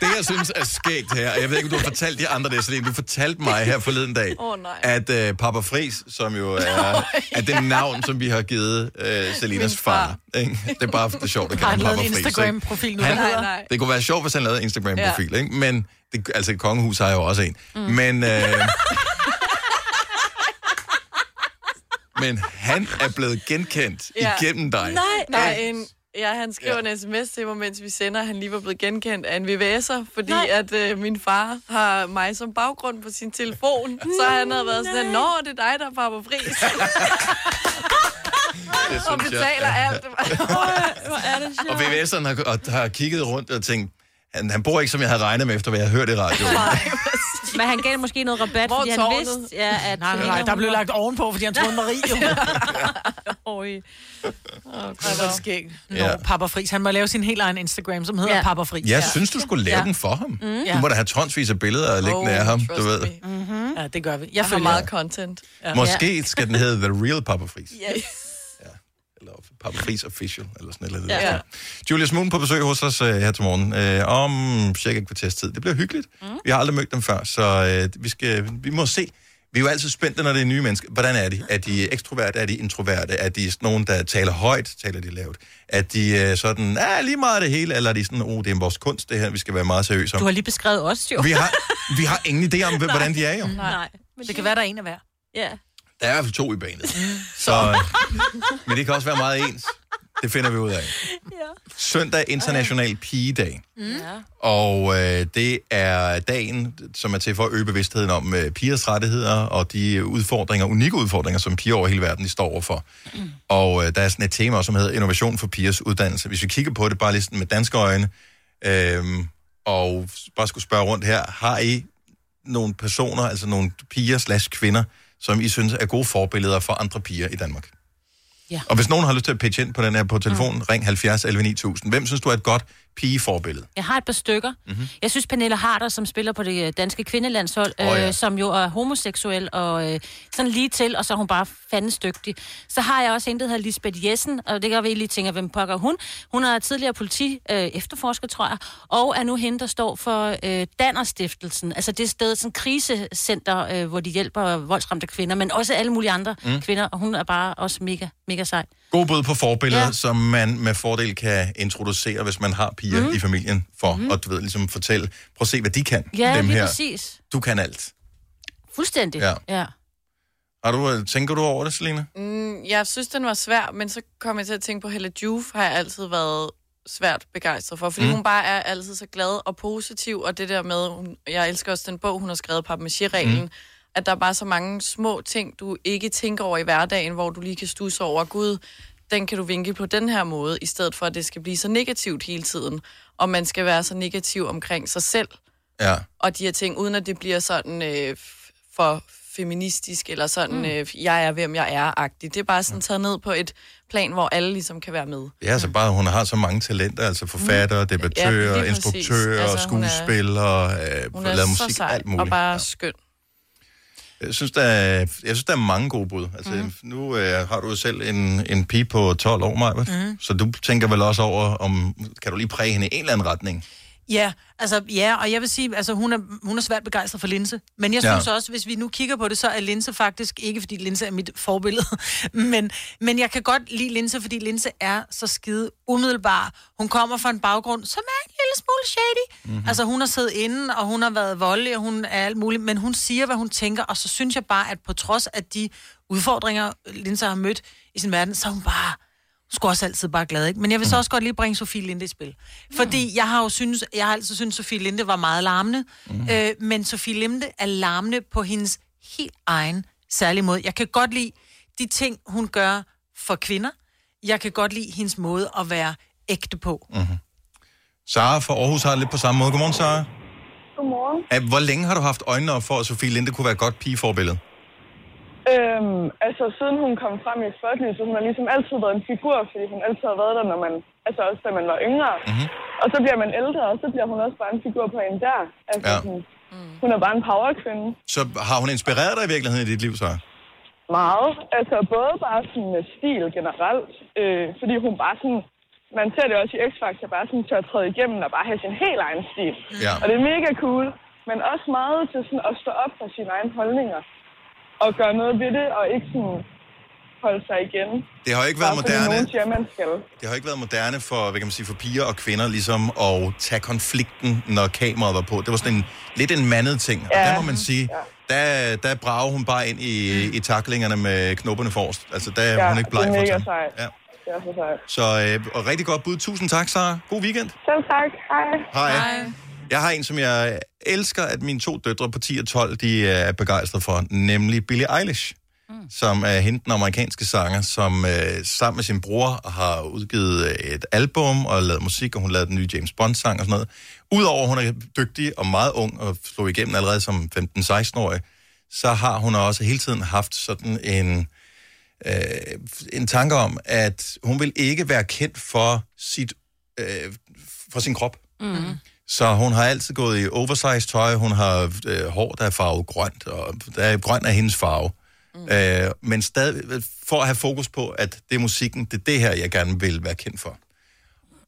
Speaker 1: Det, jeg synes er skægt her, og jeg ved ikke, om du har fortalt de andre det, Selena. Du fortalte mig her forleden dag,
Speaker 4: Åh, nej.
Speaker 1: at øh, Papa Fris, som jo er, er det navn, som vi har givet øh, Selinas
Speaker 3: Min far.
Speaker 1: far. Ikke? Det er bare for det er sjovt at
Speaker 3: Har
Speaker 1: kalde ham
Speaker 3: han lavet
Speaker 1: Papa
Speaker 3: en
Speaker 1: Fris. ikke?
Speaker 3: Instagram-profil nu?
Speaker 1: Han-
Speaker 3: der hedder-
Speaker 1: Det kunne være sjovt, hvis han lavede en Instagram-profil, ikke? Men, det, altså, Kongehus har jo også en. Mm. Men, øh, men han er blevet genkendt ja. igennem dig.
Speaker 4: Nej, nej. En, ja, han skriver ja. en sms til mig, mens vi sender, at han lige var blevet genkendt af en VVS'er, fordi nej. at øh, min far har mig som baggrund på sin telefon. så han havde været sådan, nå, det er dig, der er Papa Friis.
Speaker 1: Det
Speaker 4: og
Speaker 1: synes jeg
Speaker 4: betaler
Speaker 1: er-
Speaker 4: alt. Hvor er det
Speaker 1: Og VVS'eren har, og, har kigget rundt og tænkt, han, han bor ikke, som jeg havde regnet med, efter hvad jeg har hørt i radioen.
Speaker 2: Men han gav måske noget rabat,
Speaker 3: Hvor
Speaker 2: fordi han
Speaker 3: tårnet?
Speaker 2: vidste, ja, at... øh,
Speaker 3: Nej, nej, nej, der blev lagt ovenpå, fordi han troede Marie. Jo.
Speaker 2: Oj.
Speaker 3: Åh, det var skægt. Nå,
Speaker 1: Ja.
Speaker 3: Papa Friis. Han må lave sin helt egen Instagram, som hedder
Speaker 2: Ja.
Speaker 3: ja. Papa Friis.
Speaker 1: Jeg synes, du skulle lave den for ham.
Speaker 3: Mm.
Speaker 1: Du må da have tonsvis af billeder af liggende af ham, du ved.
Speaker 3: Mm-hmm. Ja, det gør vi.
Speaker 4: Jeg
Speaker 3: Jeg
Speaker 4: får
Speaker 3: følger
Speaker 4: meget content. Ja.
Speaker 1: Måske skal den hedde The Real Papa Fris.
Speaker 4: Yes.
Speaker 1: Papa Fris Official, eller sådan noget.
Speaker 4: Ja.
Speaker 1: Ja. Ja. Julius Moon på besøg hos os øh, her til morgen øh, om cirka et kvarters tid. Det bliver hyggeligt. Mm. Vi har aldrig mødt dem før, så øh, vi, skal, vi må se. Vi Vi er jo altid spændte, når det er nye mennesker. Hvordan er de? Er de ekstroverte? Er de introverte? Er de sådan nogen, der taler højt? Taler de lavt? Er de øh, sådan, ja, lige meget af det hele? Eller er de sådan, oh, det er vores kunst, det her, vi skal være meget seriøse om?
Speaker 2: Du har lige beskrevet os jo.
Speaker 1: Vi har, vi har ingen idé om, hvem- hvordan de er jo.
Speaker 2: Nej. Nej. Men
Speaker 3: Det kan være, der er en af hver.
Speaker 2: Ja.
Speaker 1: Der er i hvert fald to i banet. Så, øh. men det kan også være meget ens. Det finder vi ud af. Søndag er International Pigedag.
Speaker 5: Ja.
Speaker 1: Og øh, det er dagen, som er til for at øge bevidstheden om øh, pigers rettigheder og de udfordringer, unikke udfordringer, som piger over hele verden de står overfor. Mm. Og øh, der er sådan et tema, også, som hedder Innovation for pigers uddannelse. Hvis vi kigger på det bare lige sådan med danske øjne, øh, og bare skulle spørge rundt her, har I nogle personer, altså nogle piger slash kvinder, som I synes er gode forbilleder for andre piger i Danmark?
Speaker 2: Ja.
Speaker 1: Og hvis nogen har lyst til at pitche ind på den her på telefonen, mm. ring 70 11 9000. Hvem synes du er et godt pigeforbillede?
Speaker 2: Jeg har et par stykker. Mm-hmm. Jeg synes, Pernille Harder, som spiller på det øh, danske kvindelandshold,
Speaker 1: Mhm. Åh,
Speaker 2: oh,
Speaker 1: ja.
Speaker 2: ja. øh, som jo er homoseksuel og øh, sådan lige til, og så er hun bare fandens dygtig. Så har jeg også en, der hedder Lisbeth Jessen, og det kan vi lige tænker, hvem pokker hun. Hun er tidligere politi øh, efterforsker, tror jeg, og er nu hende, der står for øh, Dannerstiftelsen. Altså det sted, sådan krisecenter, øh, hvor de hjælper voldsramte kvinder, men også alle mulige andre
Speaker 1: Mm.
Speaker 2: mm. kvinder, og hun er bare også mega, mega sej.
Speaker 1: God bud på forbilleder, ja.
Speaker 2: Ja.
Speaker 1: som man med fordel kan introducere, hvis man har piger
Speaker 4: Mhm.
Speaker 1: mm. i familien, for mm. at du ved, ligesom fortælle, prøv at se, hvad de kan,
Speaker 2: Ja,
Speaker 1: dem
Speaker 2: lige
Speaker 1: her.
Speaker 2: præcis.
Speaker 1: Du kan alt.
Speaker 2: Fuldstændig.
Speaker 1: Ja.
Speaker 2: ja.
Speaker 1: Har du, øh, tænker du over det, Selina?
Speaker 4: Mm, jeg synes, den var svær, men så kom jeg til at tænke på Hella Juf, har jeg altid været svært begejstret for, fordi
Speaker 1: Mm.
Speaker 4: mm. hun bare er altid så glad og positiv, og det der med, hun, jeg elsker også den bog, hun har skrevet, Papmaché-reglen,
Speaker 17: Mhm.
Speaker 1: Mm.
Speaker 4: mm. at der er bare så mange små ting, du ikke tænker over i hverdagen, hvor du lige kan stusse over, gud, den kan du vinkle på den her måde, i stedet for, at det skal blive så negativt hele tiden, og man skal være så negativ omkring sig selv,
Speaker 1: Ja.
Speaker 4: og de her ting, uden at det bliver sådan øh, f- for feministisk, eller sådan, mm. øh, jeg er, hvem jeg er-agtigt. Det er bare
Speaker 1: Mm.
Speaker 4: sådan taget ned på et plan, hvor alle ligesom kan være med.
Speaker 1: Det er altså bare, hun har så mange talenter, altså forfatter, debattører,
Speaker 4: Mm. Ja,
Speaker 1: ja,
Speaker 4: lige præcis.
Speaker 1: instruktører, altså,
Speaker 4: Altså, hun er-
Speaker 1: skuespillere, øh,
Speaker 4: Hun
Speaker 1: lavet
Speaker 4: er
Speaker 1: musik,
Speaker 4: så sej
Speaker 1: alt muligt.
Speaker 4: og bare ja. skøn.
Speaker 1: Jeg synes, der er, jeg synes, der er mange gode bud. Altså,
Speaker 4: Mhm.
Speaker 1: mm. Nu øh, har du jo selv en, en pige på 12 år, Maja, mm.
Speaker 3: Mhm.
Speaker 1: så du tænker vel også over, om kan du lige præge hende i en eller anden retning?
Speaker 3: Ja, altså, ja, og jeg vil sige, altså, hun er, hun er svært begejstret for Linse. Men jeg
Speaker 1: Ja.
Speaker 3: synes også, hvis vi nu kigger på det, så er Linse faktisk, ikke fordi Linse er mit forbillede, men, men jeg kan godt lide Linse, fordi Linse er så skide umiddelbar. Hun kommer fra en baggrund, som er en lille smule shady. Mm-hmm. Altså, hun har siddet inde, og hun har været voldelig, og hun er alt muligt, men hun siger, hvad hun tænker, og så synes jeg bare, at på trods af de udfordringer, Linse har mødt i sin verden, så er hun bare skulle også altid bare glad, ikke? Men jeg vil så også godt lige bringe Sofie Linde i spil. Fordi jeg har jo synes, jeg har altid syntes, Sofie Linde var meget larmende. Mm. Øh, men Sofie Linde er larmende på hendes helt egen særlige måde. Jeg kan godt lide de ting, hun gør for kvinder. Jeg kan godt lide hendes måde at være ægte på.
Speaker 1: Mm-hmm. Sara fra Aarhus har det lidt på samme måde. Godmorgen, Sara.
Speaker 9: Godmorgen.
Speaker 1: Øh, Hvor længe har du haft øjnene op for, at Sofie Linde kunne være et godt pigeforbillede?
Speaker 9: Øhm, altså, siden hun kom frem i Spotlight, så hun har ligesom altid været en figur, fordi hun altid har været der, når man, altså også da man var yngre. Mm-hmm. Og så bliver man ældre, og så bliver hun også bare en figur på en der. Altså,
Speaker 1: Ja.
Speaker 9: ja. hun, hun er bare en powerkvinde.
Speaker 1: Så har hun inspireret dig i virkeligheden i dit liv, Sara?
Speaker 9: Meget. Altså, både bare sådan med stil generelt, øh, fordi hun bare sådan, man ser det også i X-Factor, bare sådan tør træde igennem og bare have sin helt egen stil.
Speaker 1: Ja.
Speaker 9: Og det er mega cool, men også meget til sådan at stå op for sine egne holdninger og gøre noget ved det, og ikke sådan holde sig igen.
Speaker 1: Det har jo ikke været
Speaker 9: Bare fordi
Speaker 1: moderne.
Speaker 9: Nogen siger, man skal.
Speaker 1: Det har ikke været moderne for, hvad kan man sige, for piger og kvinder ligesom at tage konflikten, når kameraet var på. Det var sådan en, lidt en mandet ting. Ja. Og der må man sige, der, der brager hun bare ind i, mm. i taklingerne med knopperne forrest. Altså, der er hun ikke bleg
Speaker 9: det
Speaker 1: for
Speaker 9: er
Speaker 1: at
Speaker 9: mega
Speaker 1: tage.
Speaker 9: sejt.
Speaker 1: Ja.
Speaker 9: Det er så sejt.
Speaker 1: Så øh, og rigtig godt bud. Tusind tak, Sara. God weekend.
Speaker 9: Selv tak. Hej.
Speaker 1: Hej. Hej. Jeg har en, som jeg elsker, at mine to døtre på 10 og 12, de øh, er begejstrede for, nemlig Billie Eilish, mm. som er hende den amerikanske sanger, som øh, sammen med sin bror har udgivet øh, et album og lavet musik, og hun lavede den nye James Bond-sang og sådan noget. Udover at hun er dygtig og meget ung og slog igennem allerede som 15-16-årig, så har hun også hele tiden haft sådan en øh, en tanke om, at hun vil ikke være kendt for sit øh, for sin krop.
Speaker 5: Mm.
Speaker 1: Så hun har altid gået i oversized tøj, hun har øh, hår, der er farvet grønt, og der er grøn af hendes farve. Mm. Øh, men stadig for at have fokus på, at det er musikken, det er det her, jeg gerne vil være kendt for.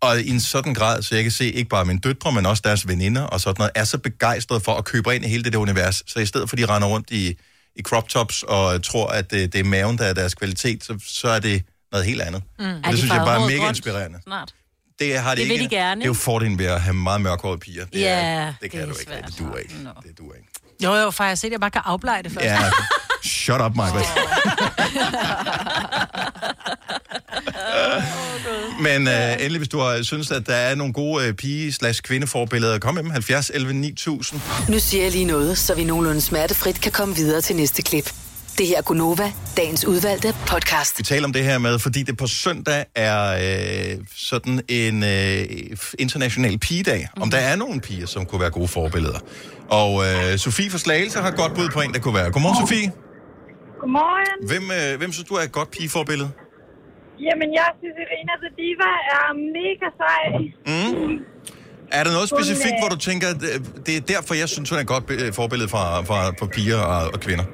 Speaker 1: Og i en sådan grad, så jeg kan se ikke bare mine døtre, men også deres veninder og sådan noget, er så begejstret for at købe ind i hele det der univers. Så i stedet for, de render rundt i i crop tops og tror, at øh, det, det er maven, der er deres kvalitet, så, så er det noget helt andet.
Speaker 2: Mm.
Speaker 1: Og det synes jeg bare er mega inspirerende.
Speaker 2: Snart.
Speaker 1: Det har de
Speaker 2: Det vil
Speaker 1: ikke.
Speaker 2: de gerne,
Speaker 1: Det er jo
Speaker 2: ikke?
Speaker 1: fordelen ved at have meget mørkhåret piger. Det,
Speaker 3: Ja,
Speaker 1: er, det kan
Speaker 3: det
Speaker 1: du
Speaker 3: er
Speaker 1: ikke. Det
Speaker 3: svært.
Speaker 1: duer ikke. Det duer ikke.
Speaker 3: Jo, jo, for jeg har set, at jeg bare kan afbleje det først.
Speaker 1: Ja, shut up, Michael. Men øh, endelig, hvis du har synes, at der er nogle gode øh, pige slash kvindeforbilleder, kom med dem. 70 11 9000.
Speaker 6: Nu siger jeg lige noget, så vi nogenlunde smertefrit kan komme videre til næste klip. Det her er Gunova, dagens udvalgte podcast.
Speaker 1: Vi taler om det her med, fordi det på søndag er øh, sådan en øh, international pigedag. Om der er nogle piger, som kunne være gode forbilleder. Og øh, Sofie fra Slagelse har et godt bud på en, der kunne være. Godmorgen, Sofie.
Speaker 19: Godmorgen.
Speaker 1: Hvem, øh, hvem synes du er et godt pigeforbillede?
Speaker 19: Jamen, jeg synes, Irina The Diva er mega sej.
Speaker 1: Mm. Er der noget
Speaker 19: Hun,
Speaker 1: specifikt,
Speaker 19: øh,
Speaker 1: hvor du tænker, at øh, det er derfor, jeg synes, hun er et godt øh, forbillede for, for, for piger og, og kvinder?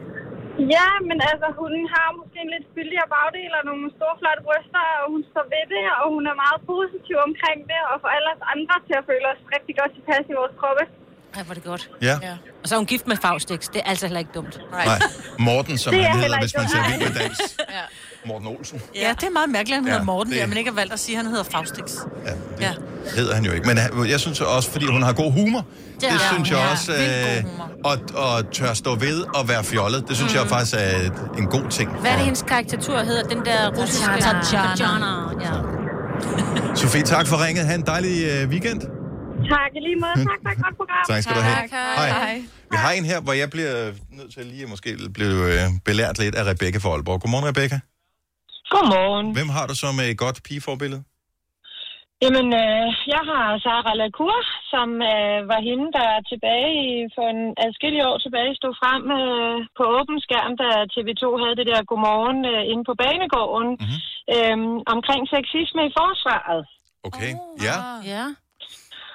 Speaker 19: Ja, men altså, hun har måske en lidt fyldigere bagdel og nogle store flotte bryster, og hun står ved det, og hun er meget positiv omkring det, og får alle os andre til at føle os rigtig godt tilpas i vores kroppe.
Speaker 2: Ej, hvor er det godt.
Speaker 1: Ja.
Speaker 2: Og så er hun gift med Faustix. Det er altså heller ikke dumt.
Speaker 1: Nej. Morten, som
Speaker 2: Det er
Speaker 1: han hedder,
Speaker 2: heller
Speaker 1: hvis
Speaker 2: ikke
Speaker 1: man ser
Speaker 2: godt.
Speaker 1: vild med dans. Morten Olsen
Speaker 3: Ja, det er meget mærkeligt, at han
Speaker 1: Ja,
Speaker 3: hedder Morten,
Speaker 1: det-
Speaker 3: det... men ikke har valgt at sige, at han hedder Faustix.
Speaker 1: hedder han jo ikke. Men han- jeg synes også, fordi hun har god humor, det, det
Speaker 3: har
Speaker 1: synes
Speaker 3: hun,
Speaker 1: jeg
Speaker 3: ja.
Speaker 1: også,
Speaker 3: Vildt
Speaker 1: øh, og, og tør stå ved og være fjollet, det synes mm. jeg faktisk er et- en god ting.
Speaker 2: Hvad er det, hendes karikatur hedder? Den der russiske...
Speaker 3: Tatjana.
Speaker 2: Tatjana. Ja.
Speaker 1: Sofie, tak for ringet. Ha' en dejlig øh, weekend.
Speaker 19: Tak i lige måde. Tak for et godt program.
Speaker 1: Tak skal du have.
Speaker 19: Hej. Hej.
Speaker 1: Vi har en her, hvor jeg bliver øh, nødt til lige at måske blive øh, belært lidt af Rebecca fra Aalborg. Godmorgen, Rebecca.
Speaker 11: Godmorgen.
Speaker 1: Hvem har du som øh, godt pigeforbillede?
Speaker 11: Jamen, øh, jeg har Sara Lacour, som øh, var hende, der tilbage i, for en adskillige år tilbage stod frem øh, på åben skærm, da TV2 havde det der godmorgen øh, inde på banegården, mm-hmm. øh, omkring sexisme i forsvaret.
Speaker 1: Okay, ja.
Speaker 2: Ja.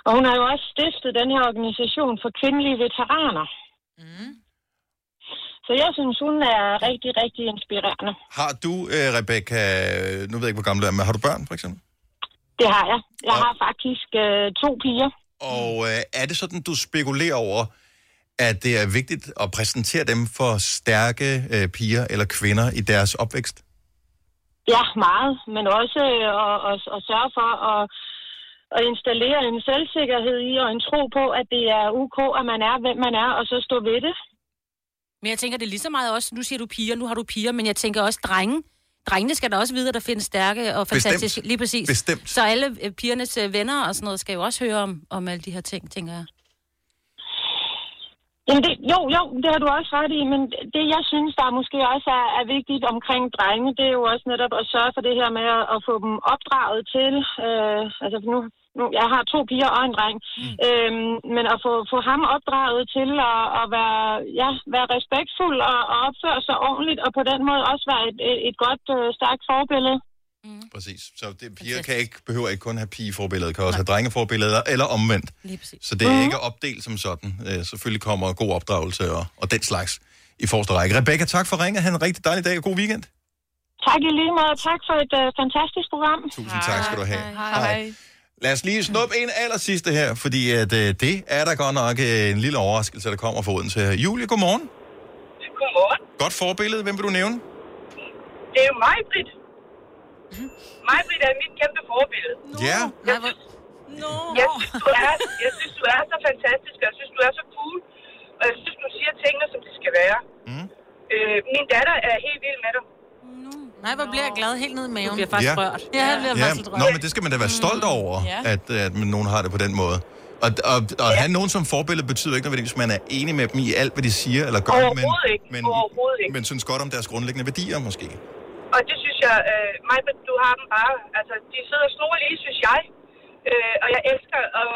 Speaker 11: Og hun har jo også stiftet den her organisation for kvindelige veteraner. Mm. Så jeg synes, hun er rigtig, rigtig inspirerende.
Speaker 1: Har du, øh, Rebecca, nu ved jeg ikke, hvor gammel du er, men har du børn, for eksempel?
Speaker 11: Det har jeg. Jeg har faktisk øh, to piger.
Speaker 2: Mm.
Speaker 1: Og øh, er det sådan, du spekulerer over, at det er vigtigt at præsentere dem for stærke øh, piger eller kvinder i deres opvækst?
Speaker 11: Ja, meget, men også øh, at, at, at sørge for at, at installere en selvsikkerhed i og en tro på, at det er ok, at man er, hvem man er, og så stå ved det.
Speaker 2: Men jeg tænker, det er lige så meget også, nu siger du piger, nu har du piger, men jeg tænker også drenge. Drengene skal da også vide, at der findes stærke og
Speaker 1: Bestemt.
Speaker 2: fantastiske... Lige præcis.
Speaker 1: Bestemt.
Speaker 2: Så alle øh, pigernes øh, venner og sådan noget skal jo også høre om, om alle de her ting, tænker jeg.
Speaker 11: Jamen det, jo, jo, det har du også ret i, men det jeg synes, der måske også er, er vigtigt omkring drenge, det er jo også netop at sørge for det her med at, at få dem opdraget til, øh, altså nu, nu, jeg har to piger og en dreng, mm. øh, men at få, få ham opdraget til at, at være, ja, være respektfuld og, og opføre sig ordentligt, og på den måde også være et, et, et godt, øh, stærkt forbillede.
Speaker 2: Mm.
Speaker 1: Præcis. Så det, piger kan ikke, behøver ikke kun have pigeforbilleder, kan også have drengeforbilleder, eller omvendt.
Speaker 2: Lige præcis. Mm.
Speaker 1: Så det er ikke opdelt som sådan. Øh, selvfølgelig kommer god opdragelse og, og den slags i forreste række. Rebecca, tak for ringet. Han en rigtig dejlig dag og god weekend.
Speaker 11: Tak i lige måde, og tak for et øh, fantastisk program.
Speaker 1: Tusind tak skal du have.
Speaker 11: Hej.
Speaker 1: Lad os lige snuppe en aller sidste her, fordi at, øh, det er der godt nok øh, en lille overraskelse, der kommer fra Odense her. Julie, godmorgen.
Speaker 22: Godmorgen.
Speaker 1: Godt forbillede. Hvem vil du nævne?
Speaker 22: Det er jo mig, Britt. Mig, Britt, er mit kæmpe forbillede.
Speaker 1: No. Ja.
Speaker 22: Jeg synes, no. jeg, synes, du er, jeg synes, du er så fantastisk, og jeg synes, du er så cool. Og jeg synes, du siger tingene, som de skal være.
Speaker 1: Mm.
Speaker 22: Øh, min datter er helt vild med dig.
Speaker 3: Nej, hvor bliver jeg glad helt ned i maven. Du bliver
Speaker 1: faktisk Ja. rørt.
Speaker 3: Ja, jeg bliver faktisk lidt Mm.
Speaker 1: Nå, men det skal man da være stolt over,
Speaker 3: Ja.
Speaker 1: at, at man- nogen har det på den måde. Og, og, og at have nogen som forbillede betyder ikke nødvendigvis, at man er enig med dem i alt, hvad de siger eller gør, men,
Speaker 22: Overhovedet ikke.
Speaker 1: men,
Speaker 22: Overhovedet ikke.
Speaker 1: men synes godt om deres grundlæggende værdier måske.
Speaker 22: Og det synes jeg, øh, mig, du har dem bare. Altså, de sidder snor lige, synes jeg. Øh, og jeg elsker, og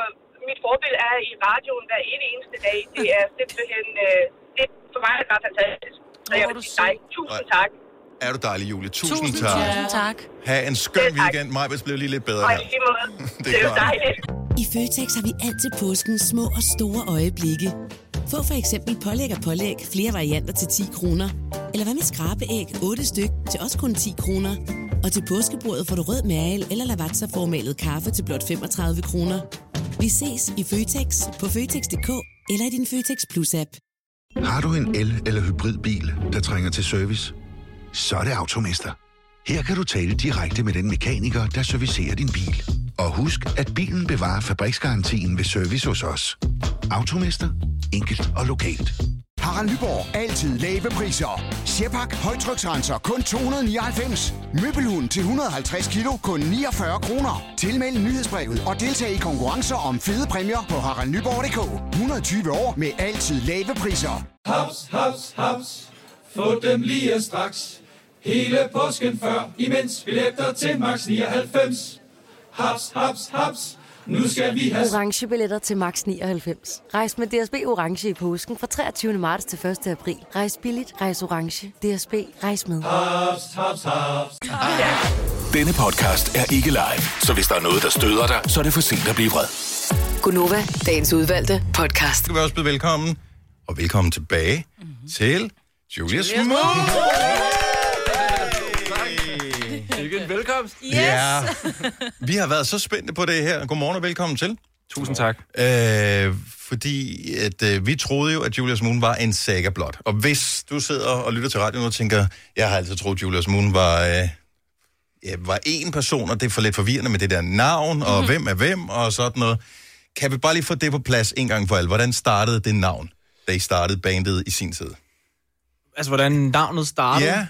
Speaker 22: mit forbillede er i radioen hver ene eneste dag. Det er simpelthen, øh, det for mig er det bare fantastisk. Så jeg vil sige dig, tusind tak.
Speaker 1: Er du dejlig, Julie? Tusind, tak.
Speaker 3: Tusind tak.
Speaker 1: Ha' en skøn weekend. Majbets blev lige lidt bedre
Speaker 22: Og
Speaker 1: her.
Speaker 22: i lige måde.
Speaker 1: Det er klart.
Speaker 17: I Føtex har vi altid påskens små og store øjeblikke. Få for eksempel pålæg og pålæg flere varianter til 10 kroner. Eller hvad med skrabeæg 8 styk til også kun 10 kroner. Og til påskebordet får du rød mal eller lavatserformalet kaffe til blot 35 kroner. Vi ses i Føtex på Føtex.dk eller i din Føtex Plus-app.
Speaker 10: Har du en el- eller hybridbil, der trænger til service? Så er det Automester. Her kan du tale direkte med den mekaniker, der servicerer din bil. Og husk, at bilen bevarer fabriksgarantien ved service hos os. Automester. Enkelt og lokalt.
Speaker 13: Harald Nyborg. Altid lave priser. Sjehpak. Højtryksrenser. Kun 299. Møbelhund til 150 kilo. Kun 49 kroner. Tilmeld nyhedsbrevet og deltag i konkurrencer om fede præmier på haraldnyborg.dk. 120 år med altid lave priser.
Speaker 14: Haps, haps, haps. Få dem lige straks. Hele påsken før, imens billetter til max 99. Haps, haps, haps. Nu skal vi have...
Speaker 12: Orange billetter til max 99. Rejs med DSB Orange i påsken fra 23. marts til 1. april. Rejs billigt, rejs orange. DSB, rejs
Speaker 1: øh-
Speaker 12: med.
Speaker 14: Haps, haps, haps.
Speaker 7: Denne podcast er ikke live, så hvis der er noget, der støder dig, så er det for sent at blive vred.
Speaker 6: Gunova, dagens udvalgte podcast.
Speaker 1: Du vil også byde velkommen, og velkommen tilbage mm-hmm. til Julia Smoo.
Speaker 23: Sikke en velkomst.
Speaker 1: Yes. Ja. Vi har været så spændte på det her. Godmorgen og velkommen til.
Speaker 23: Tusind tak.
Speaker 1: Øh, fordi at, øh, vi troede jo, at Julius Moon var en saga blot. Og hvis du sidder og lytter til radioen og tænker, jeg har altid troet, at Julius Moon var, øh, ja, var én person, og det er for lidt forvirrende med det der navn, og mm-hmm. hvem er hvem, og sådan noget. Kan vi bare lige få det på plads en gang for alle? Hvordan startede det navn, da I startede bandet i sin tid?
Speaker 23: Altså, hvordan navnet startede?
Speaker 1: Ja.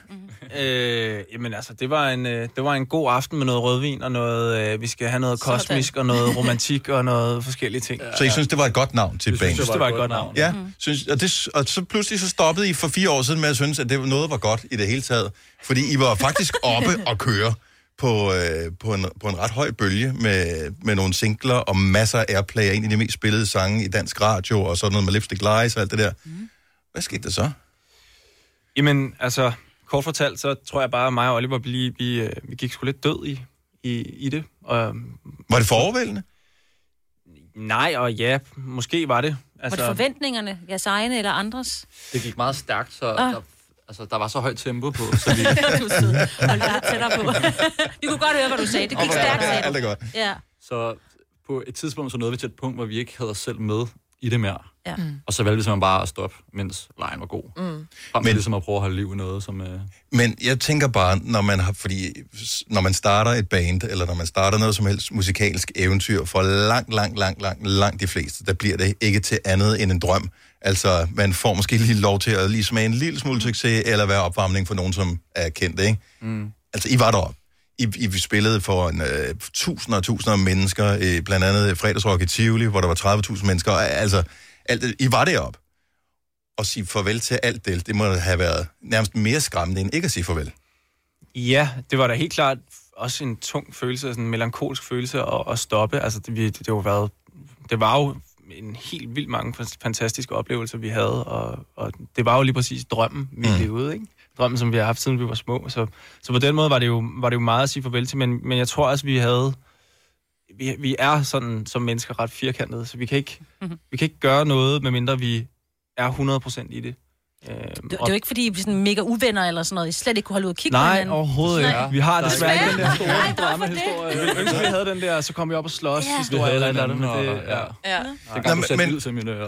Speaker 23: Øh, jamen altså, det var, en, øh, det var en god aften med noget rødvin, og noget, øh, vi skal have noget kosmisk, og noget romantik, og noget forskellige ting.
Speaker 1: Så I synes, det var et godt navn til
Speaker 23: Vi synes,
Speaker 1: bandet?
Speaker 23: det var et godt navn.
Speaker 1: Ja, Mm. synes, og, det, og så pludselig så stoppede I for fire år siden med at synes, at det var noget var godt i det hele taget. Fordi I var faktisk oppe og køre på, øh, på, en, på en ret høj bølge med, med nogle singler og masser af airplay, og en af de mest spillede sange i dansk radio, og sådan noget med Lipstick Lies og alt det der.
Speaker 23: Mm.
Speaker 1: Hvad skete der så?
Speaker 23: Jamen, altså, kort fortalt, så tror jeg bare, at mig og Oliver, vi, vi, øh, vi gik sgu lidt død i, i, i det. Og,
Speaker 1: var det forudvældende?
Speaker 23: Nej, og ja, måske var det.
Speaker 2: Altså, var det forventningerne, jeres egne eller andres?
Speaker 23: det gik meget stærkt, så
Speaker 2: Ah. der-
Speaker 23: altså, der var så højt tempo på, så vi...
Speaker 2: du er sød. Hold dig tættere på. vi kunne godt høre, hvad du sagde. Det gik stærkt, sagde du. Ja.
Speaker 23: Så på et tidspunkt så nåede vi til et punkt, hvor vi ikke havde os selv med i det mere.
Speaker 2: Ja. Mm.
Speaker 23: Og så valgte vi simpelthen bare at stoppe, mens lejen var god. Mm. Frem til ligesom at prøve at holde liv i noget, som... Øh...
Speaker 1: Men jeg tænker bare, når man, har, fordi, når man starter et band, eller når man starter noget som helst musikalsk eventyr, for langt, langt, langt, langt, langt de fleste, der bliver det ikke til andet end en drøm. Altså, man får måske lige lov til at lige smage en lille smule succes, eller være opvarmning for nogen, som er kendt, ikke?
Speaker 23: Mm.
Speaker 1: Altså, I var deroppe. I, I vi spillede for en, øh, tusinder og tusinder af mennesker, øh, blandt andet fredagsrock i Tivoli, hvor der var 30.000 mennesker. og, Altså, alt det, I var deroppe. Og sige farvel til alt det, det må have været nærmest mere skræmmende, end ikke at sige farvel.
Speaker 23: Ja, det var da helt klart også en tung følelse, sådan en melankolsk følelse at, at stoppe. Altså, det, vi- det, det, var været, det var jo en helt vildt mange fan- fantastiske oplevelser, vi havde, og, og det var jo lige præcis drømmen, vi mm. levede, ikke? Drømmen, som vi har haft, siden vi var små. Så, så på den måde var det, jo, var det jo meget at sige farvel til, men, men jeg tror også, vi havde... Vi, vi er sådan som mennesker ret firkantede, så vi kan ikke,
Speaker 3: Mhm.
Speaker 23: mm-hmm. vi kan ikke gøre noget, medmindre vi er 100% i det. Øhm,
Speaker 2: Det, det er jo ikke, fordi I er sådan mega uvenner eller sådan noget. I slet ikke kunne holde ud og kigge på
Speaker 23: Nej,
Speaker 2: hinanden.
Speaker 23: overhovedet ikke. Vi har desværre ikke den der store
Speaker 2: Nej, hvorfor
Speaker 3: er
Speaker 23: dramahistorie. Jeg ville ønske, vi havde den der, så kom jeg op og slås
Speaker 2: Ja.
Speaker 23: ja.
Speaker 2: Vi
Speaker 23: historie
Speaker 1: havde
Speaker 23: eller et eller andet,
Speaker 1: hinanden,
Speaker 23: men det,
Speaker 1: og-
Speaker 23: ja.
Speaker 4: Ja.
Speaker 23: Det
Speaker 1: Nå,
Speaker 23: kan du
Speaker 1: men-
Speaker 23: sætte
Speaker 1: men-
Speaker 23: ud til mine ører.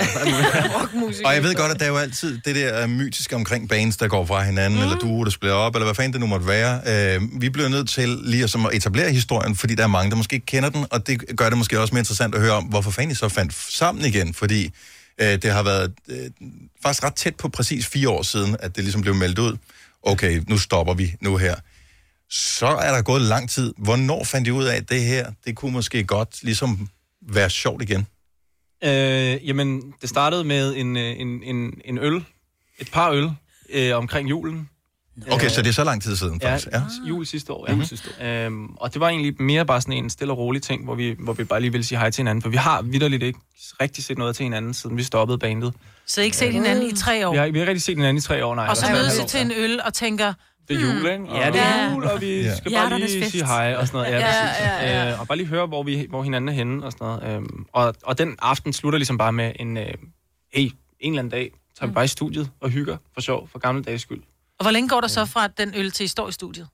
Speaker 1: Og jeg ved godt, at der er jo altid det der øh, mytiske omkring bands, der går fra hinanden, mm. eller duer, der spiller op, eller hvad fanden det nu måtte være. Øh, vi bliver nødt til lige at, som at etablere historien, fordi der er mange, der måske ikke kender den, og det gør det måske også mere interessant at høre om, hvorfor fanden I så fandt sammen igen, fordi øh, det har været øh, faktisk ret tæt på præcis fire år siden, at det ligesom blev meldt ud. Okay, nu stopper vi nu her. Så er der gået lang tid. Hvornår fandt I ud af, at det her, det kunne måske godt ligesom være sjovt igen?
Speaker 23: Øh, jamen, det startede med en, øh, en, en, en øl, et par øl, øh, omkring julen.
Speaker 1: Okay,
Speaker 23: Øh,
Speaker 1: så det er så lang tid siden, faktisk.
Speaker 23: Ja,
Speaker 1: Ja. Mhm.
Speaker 23: jul sidste år. Ja. Jul sidste år. Øhm, og det var egentlig mere bare sådan en stille og rolig ting, hvor vi, hvor vi bare lige ville sige hej til hinanden, for vi har vidderligt ikke rigtig set noget til hinanden, siden vi stoppede bandet.
Speaker 3: Så I ikke set hinanden i tre år?
Speaker 23: Vi har, vi har ikke rigtig set hinanden i tre år, nej.
Speaker 3: og så
Speaker 23: Eller
Speaker 3: mødes
Speaker 23: tre
Speaker 3: I til en øl og tænker...
Speaker 23: Det er jul, ikke?
Speaker 3: Mm. Ja, det er
Speaker 23: jul, og vi skal bare
Speaker 3: Hjerternes
Speaker 23: lige
Speaker 3: fest.
Speaker 23: sige hej og sådan noget. Ja,
Speaker 3: Ja,
Speaker 23: præcis.
Speaker 3: ja, ja.
Speaker 23: Øh, og bare lige høre, hvor, vi, hvor hinanden er henne og sådan noget. Øhm, og, og den aften slutter ligesom bare med en, øh, hey, en eller anden dag
Speaker 3: Mm.
Speaker 23: tager vi bare i studiet og hygger for sjov, for gamle dages skyld.
Speaker 3: Og hvor længe går der så fra at den øl til, I står i studiet?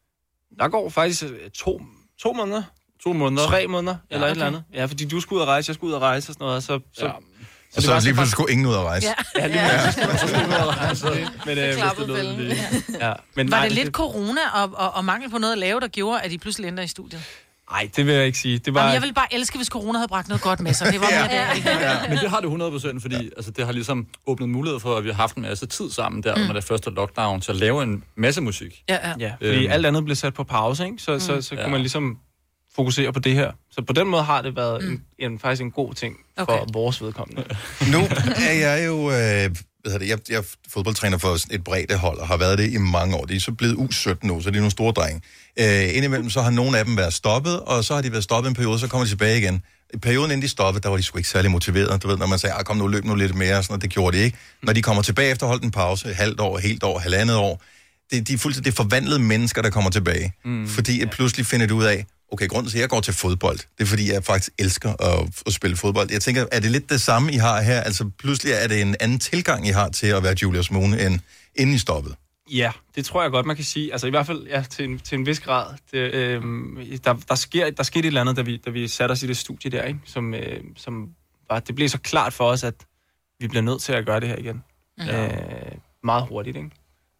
Speaker 23: Der går faktisk øh, to, to måneder, to måneder, tre måneder ja, eller
Speaker 3: okay.
Speaker 23: et eller andet. Ja, fordi du skulle ud og rejse, jeg skulle ud og rejse og sådan noget, og så, så, ja.
Speaker 1: Og så,
Speaker 23: var
Speaker 1: lige pludselig skulle ingen ud at rejse.
Speaker 23: Ja, ja lige pludselig. Men, øh, hvis det
Speaker 3: klappede
Speaker 23: lød
Speaker 3: fælden.
Speaker 23: lige. Ja, men
Speaker 3: Men var
Speaker 23: nej,
Speaker 3: det lidt corona og, og, og mangel på noget at lave, der gjorde, at I pludselig ændrede i studiet?
Speaker 23: Nej, det vil jeg ikke sige. Det var...
Speaker 3: Var... Jamen, jeg ville bare elske, hvis corona havde bragt noget godt med sig. Det var mere ja. det.
Speaker 15: ja. Men det har det 100%, fordi altså, det har ligesom åbnet mulighed for, at vi har haft en masse tid sammen der mm. under det første lockdown, til at lave en masse musik.
Speaker 23: Ja, ja. ja fordi
Speaker 15: Øhm.
Speaker 23: alt andet blev sat på pause, ikke? Så, mm. så, så, så
Speaker 15: Ja.
Speaker 23: kunne man ligesom fokusere på det her. Så på den måde har det været mm. en, en, faktisk en god ting for
Speaker 1: Okay.
Speaker 23: vores vedkommende.
Speaker 1: Nu er jeg jo... Øh, hvad hedder det, jeg, jeg er fodboldtræner for sådan et bredt hold, og har været det i mange år. De er så blevet U17 nu, så de er nogle store drenge. Øh, indimellem så har nogle af dem været stoppet, og så har de været stoppet en periode, så kommer de tilbage igen. I perioden inden de stoppede, der var de sgu ikke særlig motiverede. Du ved, når man sagde, "Ah, kom nu, løb nu lidt mere, og sådan noget, det gjorde de ikke. Når de kommer tilbage efter holdt en pause, et halvt år, et helt år, halvandet år, det, de er fuldstændig det er forvandlede mennesker, der kommer tilbage. Mm, fordi at pludselig finder du ud af, okay, grunden til, at jeg går til fodbold, det er, fordi jeg faktisk elsker at, at spille fodbold. Jeg tænker, er det lidt det samme, I har her? Altså pludselig er det en anden tilgang, I har til at være Julius Moon, end inden I stoppede.
Speaker 23: Ja, det tror jeg godt, man kan sige. Altså i hvert fald ja, til, en, til en vis grad. Det, øh, der, der, sker, der skete et eller andet, da vi, da vi satte os i det studie der, ikke? Som, øh, som var, det blev så klart for os, at vi bliver nødt til at gøre det her igen.
Speaker 3: Mhm.
Speaker 23: Mm. Øh, meget hurtigt, ikke?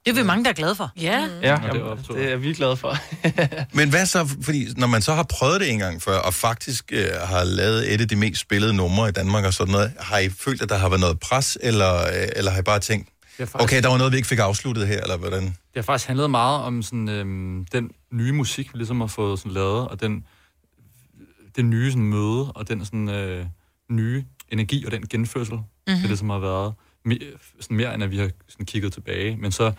Speaker 3: Det er vi mange, der er glade for. Ja.
Speaker 23: Ja, jamen, det er vi glade for.
Speaker 1: Men hvad så, fordi når man så har prøvet det en gang før, og faktisk øh, har lavet et af de mest spillede numre i Danmark og sådan noget, har I følt, at der har været noget pres, eller, øh, eller har I bare tænkt,
Speaker 15: har faktisk-
Speaker 1: okay, der var noget, vi ikke fik afsluttet her, eller hvordan?
Speaker 15: Det har faktisk handlet meget om sådan, øhm, den nye musik, vi ligesom har fået sådan, lavet, og den, den nye sådan, møde, og den sådan, øh, nye energi og den genfødsel, mm-hmm. det ligesom har været me- sådan mere, end at vi har sådan, kigget tilbage. Men så,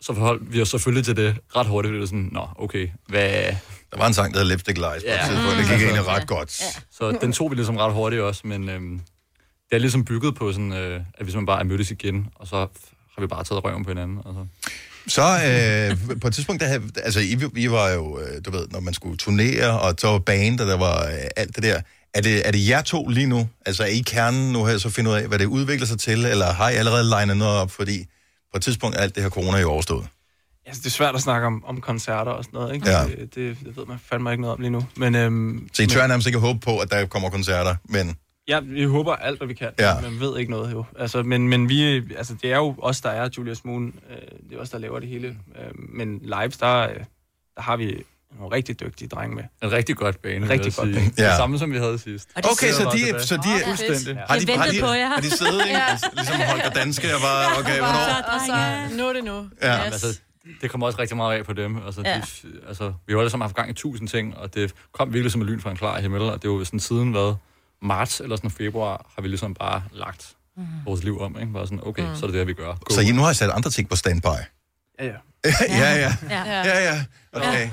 Speaker 15: så forholdt vi os selvfølgelig til det ret hurtigt, fordi det var sådan, nå, okay, hvad... Mm.
Speaker 1: Der var en sang, der hed Lipstick Lies på et tidspunkt, det gik egentlig ret godt. Ja.
Speaker 15: Så den tog vi ligesom ret hurtigt også, men øhm, det er ligesom bygget på sådan, øh, at vi simpelthen bare er mødtes igen, og så har vi bare taget røven på hinanden. Og så.
Speaker 1: Så øh, på et tidspunkt, der havde, altså I, I var jo, øh, du ved, når man skulle turnere, og så var band, og der var øh, alt det der. Er det, er det jer to lige nu? Altså er I kernen nu her, så finder ud af, hvad det udvikler sig til, eller har I allerede legnet noget op, fordi på et tidspunkt er alt det her corona jo overstået?
Speaker 23: Altså, det er svært at snakke om, om koncerter og sådan noget, ikke?
Speaker 1: Ja.
Speaker 23: Det, det, det ved man fandme ikke noget om lige nu. Men, øhm,
Speaker 1: Så I tør
Speaker 23: men-
Speaker 1: nærmest ikke håbe på, at der kommer koncerter, men...
Speaker 23: Ja, vi håber alt, hvad vi kan.
Speaker 1: Ja.
Speaker 23: Ja. Man ved ikke noget jo. Altså, men, men vi, altså, det er jo os, der er Julius Moon. Øh, det er os, der laver det hele. Øh, men lives, der, øh, der har vi nogle rigtig dygtige drenge med.
Speaker 15: En rigtig godt bane, vil
Speaker 23: Rigtig
Speaker 15: jeg
Speaker 23: godt
Speaker 15: sige.
Speaker 23: bane.
Speaker 15: Det samme, som vi havde sidst. Og de
Speaker 1: Okay,
Speaker 15: sidder
Speaker 1: så
Speaker 15: bare tilbage.
Speaker 1: de, så de,
Speaker 15: Åh, fedt. Fuldstændig.
Speaker 1: har
Speaker 15: Jeg
Speaker 1: de, har de,
Speaker 15: ventede på jer.
Speaker 1: har de siddet, ikke?
Speaker 15: Ja.
Speaker 1: Ligesom Holger Danske, og bare, okay, hvornår?
Speaker 4: Og så, nu er det nu.
Speaker 15: Ja, yes. altså, det kommer også rigtig meget af på dem. Altså, ja.
Speaker 4: Ja.
Speaker 15: de, altså, vi har jo alle sammen haft gang i tusind ting, og det kom virkelig som et lyn fra en klar himmel, og det er jo sådan siden været marts eller sådan februar, har vi ligesom bare lagt mm. vores liv om, ikke? Bare sådan, okay, mm.
Speaker 1: Mhm.
Speaker 15: så er det det, vi gør. Go.
Speaker 1: Så I nu har I sat andre ting på standby.
Speaker 23: Ja, ja.
Speaker 1: ja, ja.
Speaker 23: Ja.
Speaker 1: Ja, ja. Okay.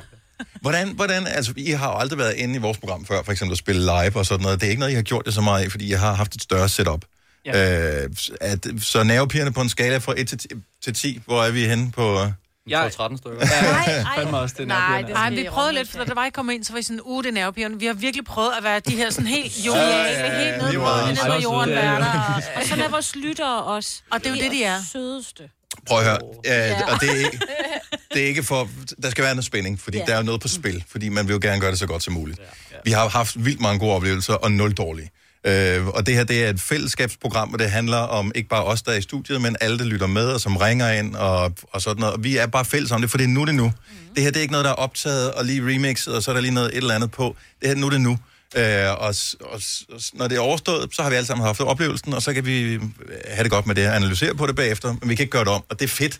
Speaker 1: Hvordan, hvordan, altså, I har jo aldrig været inde i vores program før, for eksempel at spille live og sådan noget. Det er ikke noget, I har gjort det så meget af, fordi jeg har haft et større setup. Ja. Øh, at, så nervepigerne på en skala fra 1 til 10, til 10 hvor er vi henne på... øh?
Speaker 15: Jeg tror 13 stykker.
Speaker 23: Fandme også, det er
Speaker 3: Nej,
Speaker 23: nervepirrende.
Speaker 3: det Ej, vi prøvede lidt, for da der var I kom ind, så var I sådan, uge, det er nervepirrende. Vi har virkelig prøvet at være de her sådan helt
Speaker 2: Ja,
Speaker 3: joviale,
Speaker 2: ja, ja,
Speaker 3: helt nede
Speaker 2: vi
Speaker 3: på,
Speaker 2: var
Speaker 3: nede på
Speaker 2: så
Speaker 3: jorden,
Speaker 2: søde.
Speaker 3: værter.
Speaker 2: Og så er vores lyttere også.
Speaker 3: Og det er jo det, de er.
Speaker 2: Sødeste.
Speaker 1: Prøv at høre. Øh, og det er, ikke, det er ikke for... Der skal være noget spænding, fordi
Speaker 2: Ja.
Speaker 1: der er jo noget på spil, fordi man vil jo gerne gøre det så godt som muligt. Vi har haft vildt mange gode oplevelser, og nul dårlige. Øh, og det her, det er et fællesskabsprogram, og det handler om ikke bare os, der er i studiet, men alle, der lytter med, og som ringer ind, og, og sådan noget. Og vi er bare fælles om det, for det er nu, det er nu. Mm. Det her, det er ikke noget, der er optaget og lige remixet, og så er der lige noget et eller andet på. Det her, nu, det er nu. Øh, og, s- og, s- og s- når det er overstået, så har vi alle sammen haft oplevelsen, og så kan vi øh, have det godt med det og analysere på det bagefter, men vi kan ikke gøre det om, og det er fedt.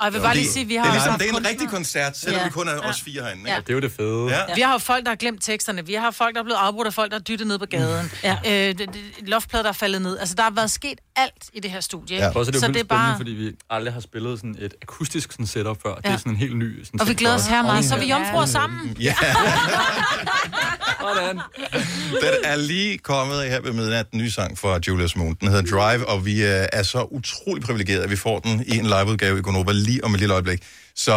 Speaker 3: Og jeg vil
Speaker 1: Jo,
Speaker 3: bare
Speaker 1: det-
Speaker 3: lige sige, vi
Speaker 1: det er
Speaker 3: har... også
Speaker 1: ligesom-
Speaker 3: haft
Speaker 1: det er en
Speaker 3: kunstnere.
Speaker 1: rigtig koncert, selvom vi kun er os fire herinde, ikke?
Speaker 3: Ja.
Speaker 1: Ja,
Speaker 15: Det er jo det fede.
Speaker 1: Ja.
Speaker 3: Vi har jo folk, der har glemt teksterne. Vi har folk, der er blevet afbrudt af folk, der er dyttet ned på
Speaker 2: Mm.
Speaker 3: gaden. Ja. Øh, det- det- loftplader, der er faldet ned. Altså, der har været sket alt i det her studie. ikke?
Speaker 15: Ja. Også, det er så det er bare... fordi vi aldrig har spillet sådan et akustisk sådan setup før. Ja. Det
Speaker 3: Ja.
Speaker 15: er sådan en helt ny... Sådan
Speaker 3: Og vi
Speaker 15: ting
Speaker 3: glæder
Speaker 15: for
Speaker 3: os her meget, så er vi
Speaker 15: Ja.
Speaker 3: jomfruer sammen.
Speaker 1: Ja.
Speaker 15: Sådan.
Speaker 1: Den er lige kommet her ved midnat, den nye sang fra Julius Moon. Den hedder Drive, og vi øh, er så utrolig privilegerede, at vi får den i en liveudgave i Gonova lige om et lille øjeblik. Så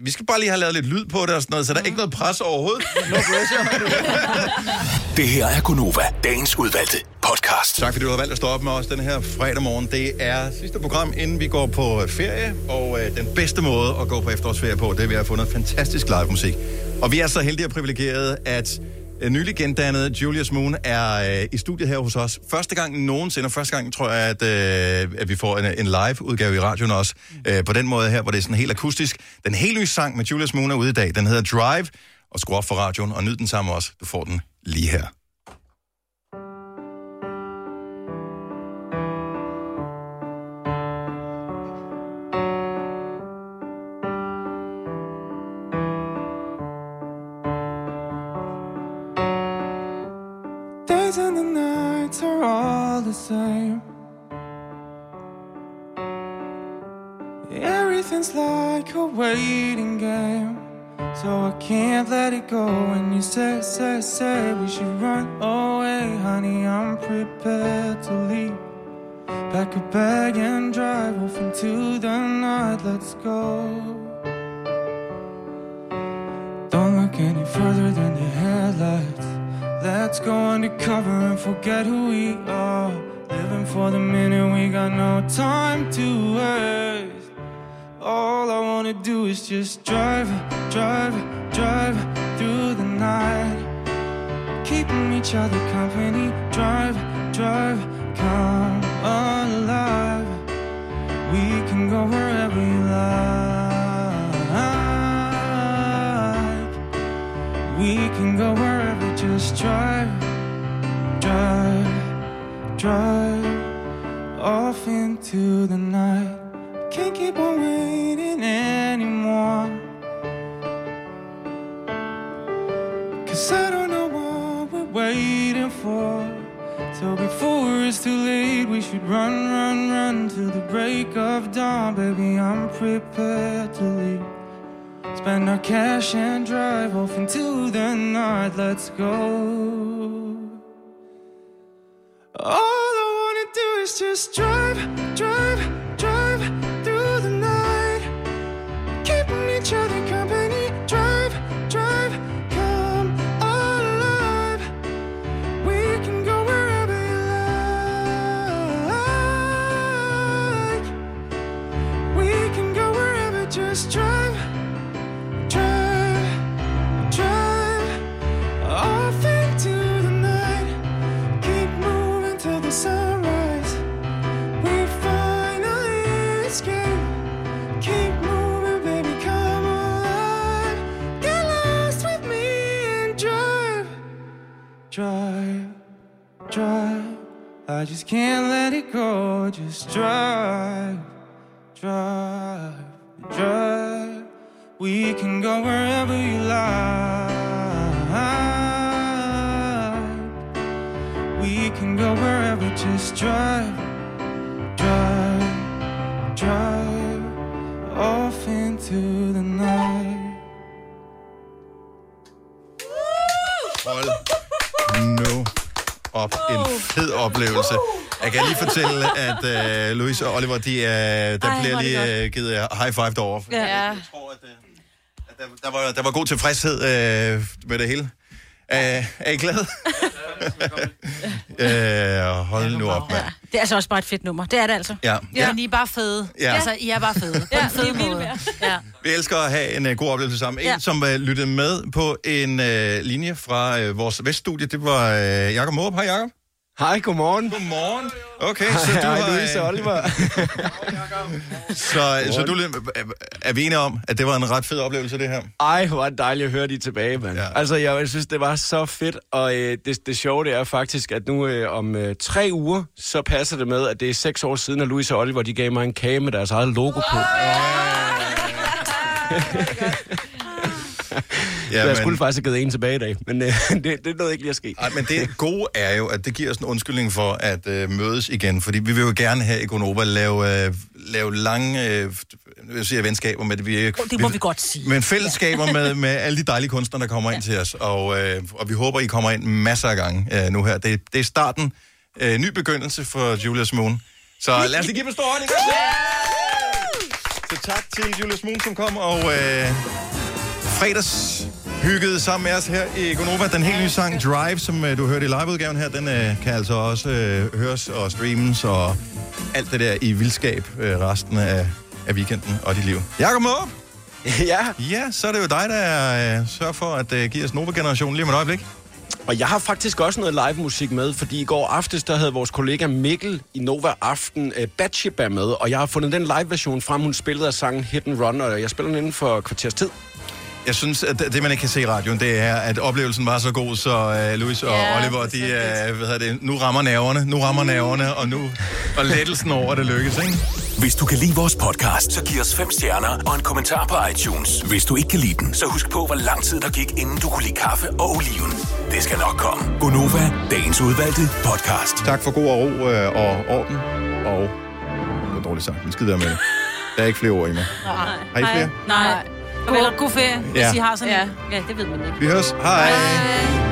Speaker 1: øh, vi skal bare lige have lavet lidt lyd på det og sådan noget, så der er ikke noget pres overhovedet. No
Speaker 7: Det her er Gunova, dagens udvalgte podcast.
Speaker 1: Tak fordi du har valgt at stå op med os den her fredag morgen. Det er sidste program, inden vi går på øh, ferie. Og øh, den bedste måde at gå på efterårsferie på, det er ved at få noget fantastisk live musik. Og vi er så heldige og privilegerede, at Øh, Nylig gendannet Julius Moon er øh, i studiet her hos os. Første gang nogensinde, og første gang tror jeg, at, øh, at vi får en, en live-udgave i radioen også. Øh, på den måde her, hvor det er sådan helt akustisk. Den helt nye sang med Julius Moon er ude i dag. Den hedder Drive, og skru op for radioen og nyd den sammen også. Du får den lige her.
Speaker 8: Days and the nights are all the same. Everything's like a waiting game. So I can't let it go when you say, say, say we should run away, honey. I'm prepared to leave. Pack a bag and drive off into the night. Let's go. Don't look any further than your headlights. Let's go undercover and forget who we are. Living for the minute, we got no time to waste. All I wanna do is just drive, drive, drive through the night. Keeping each other company, drive, drive, come alive. We can go wherever we like. We can go wherever, just drive, drive, drive off into the night. Can't keep on waiting anymore. Cause I don't know what we're waiting for. So before it's too late, we should run, run, run till the break of dawn. Baby, I'm prepared to leave. Spend our cash and drive off into the night. Let's go. All I wanna do is just drive, drive, drive through the night. Keeping each other company. Drive, drive, come alive. We can go wherever you like. We can go wherever, just drive. Drive, drive off into the night. Keep moving till the sunrise. We finally escape. Keep moving, baby, come alive. Get lost with me and drive, drive, drive. I just can't let it go. Just drive, drive, drive. We can go wherever you like. We can go wherever, just drive, drive, drive off into the night.
Speaker 1: Hold nu op. En fed oplevelse. Jeg kan lige fortælle, at øh, Louise og Oliver, de, øh, der
Speaker 5: hvor er
Speaker 1: Ej, bliver
Speaker 5: det
Speaker 1: lige
Speaker 5: godt.
Speaker 1: øh, givet øh, high five derovre.
Speaker 5: Ja. ja.
Speaker 1: Der var, der var god tilfredshed øh, med det hele. Øh, er I glade? øh, hold nu op, mand.
Speaker 2: Det er altså også bare et fedt nummer. Det er det altså.
Speaker 1: Ja.
Speaker 2: ja.
Speaker 1: Ja.
Speaker 2: Men I er bare fede.
Speaker 1: Ja.
Speaker 2: Altså, I er bare fede. ja, på en fed måde. Ja.
Speaker 1: Vi elsker at have en uh, god oplevelse sammen. En,
Speaker 2: Ja.
Speaker 1: ja. som uh, lyttede med på en uh, linje fra uh, vores veststudie, det var uh, Jakob Måb. Hej, Jakob.
Speaker 16: Hej, godmorgen.
Speaker 1: Godmorgen. Okay,
Speaker 16: Hej,
Speaker 1: så du
Speaker 16: hej,
Speaker 1: har... øh,
Speaker 16: Louise og Oliver.
Speaker 1: så, så du lød- er vi enige om, at det var en ret fed oplevelse, det her?
Speaker 16: Ej, hvor er det dejligt at høre de er tilbage, mand. Ja. Altså, jeg, jeg synes, det var så fedt, og øh, det, det sjove det er faktisk, at nu øh, om øh, tre uger, så passer det med, at det er seks år siden, at Louise og Oliver, de gav mig en kage med deres eget logo på. Ja, jeg
Speaker 1: men-
Speaker 16: skulle faktisk have givet en tilbage i dag, men øh, det, det nåede ikke lige at ske.
Speaker 1: Ej, men det gode er jo, at det giver os en undskyldning for at øh, mødes igen, fordi vi vil jo gerne her i Gonova lave, øh, lave lange øh, jeg siger, venskaber med det. Vi,
Speaker 2: Det må vi godt sige.
Speaker 1: Men fællesskaber med, med alle de dejlige kunstnere, der kommer ind til os, og, øh, og vi håber, I kommer ind masser af gange øh, nu her. Det, det er starten. Øh, ny begyndelse for Julius Moon. Så lad os lige give dem en stor hånd. Så tak til Julius Moon, som kom og øh, fredags hyggede sammen med os her i Gonova. Den helt nye sang Drive, som øh, du hørte i liveudgaven her, den øh, kan altså også øh, høres og streames og alt det der i vildskab øh, resten af, af weekenden og dit liv. Jakob Måb!
Speaker 16: Ja.
Speaker 1: Ja, så er det jo dig, der øh, sørger for at øh, give os Nova-generationen lige om et øjeblik.
Speaker 16: Og jeg har faktisk også noget live musik med, fordi i går aftes, der havde vores kollega Mikkel i Nova Aften uh, Batsheba med, og jeg har fundet den live version frem, hun spillede af sangen Hit and Run, og jeg spiller den inden for et kvarters tid.
Speaker 1: Jeg synes, at det, man ikke kan se i radioen, det er, at oplevelsen var så god, så uh, Louis og
Speaker 5: Ja,
Speaker 1: ja, Oliver, de, uh, hvad hedder det, nu rammer nerverne, nu rammer nerverne, og nu og lettelsen over, at det lykkes, ikke?
Speaker 7: Hvis du kan lide vores podcast, så giv os fem stjerner og en kommentar på iTunes. Hvis du ikke kan lide den, så husk på, hvor lang tid der gik, inden du kunne lide kaffe og oliven. Det skal nok komme.
Speaker 1: Gonova, dagens udvalgte podcast. Tak for god og ro øh, og orden, og det var dårligt sagt, men skid være med det. Der er ikke flere ord i mig.
Speaker 3: Nej.
Speaker 1: Har I flere?
Speaker 3: Nej. Eller god ferie, hvis
Speaker 1: Ja.
Speaker 3: I har sådan
Speaker 2: ja. ja, det ved man ikke.
Speaker 1: Vi høres. Hej. Hej.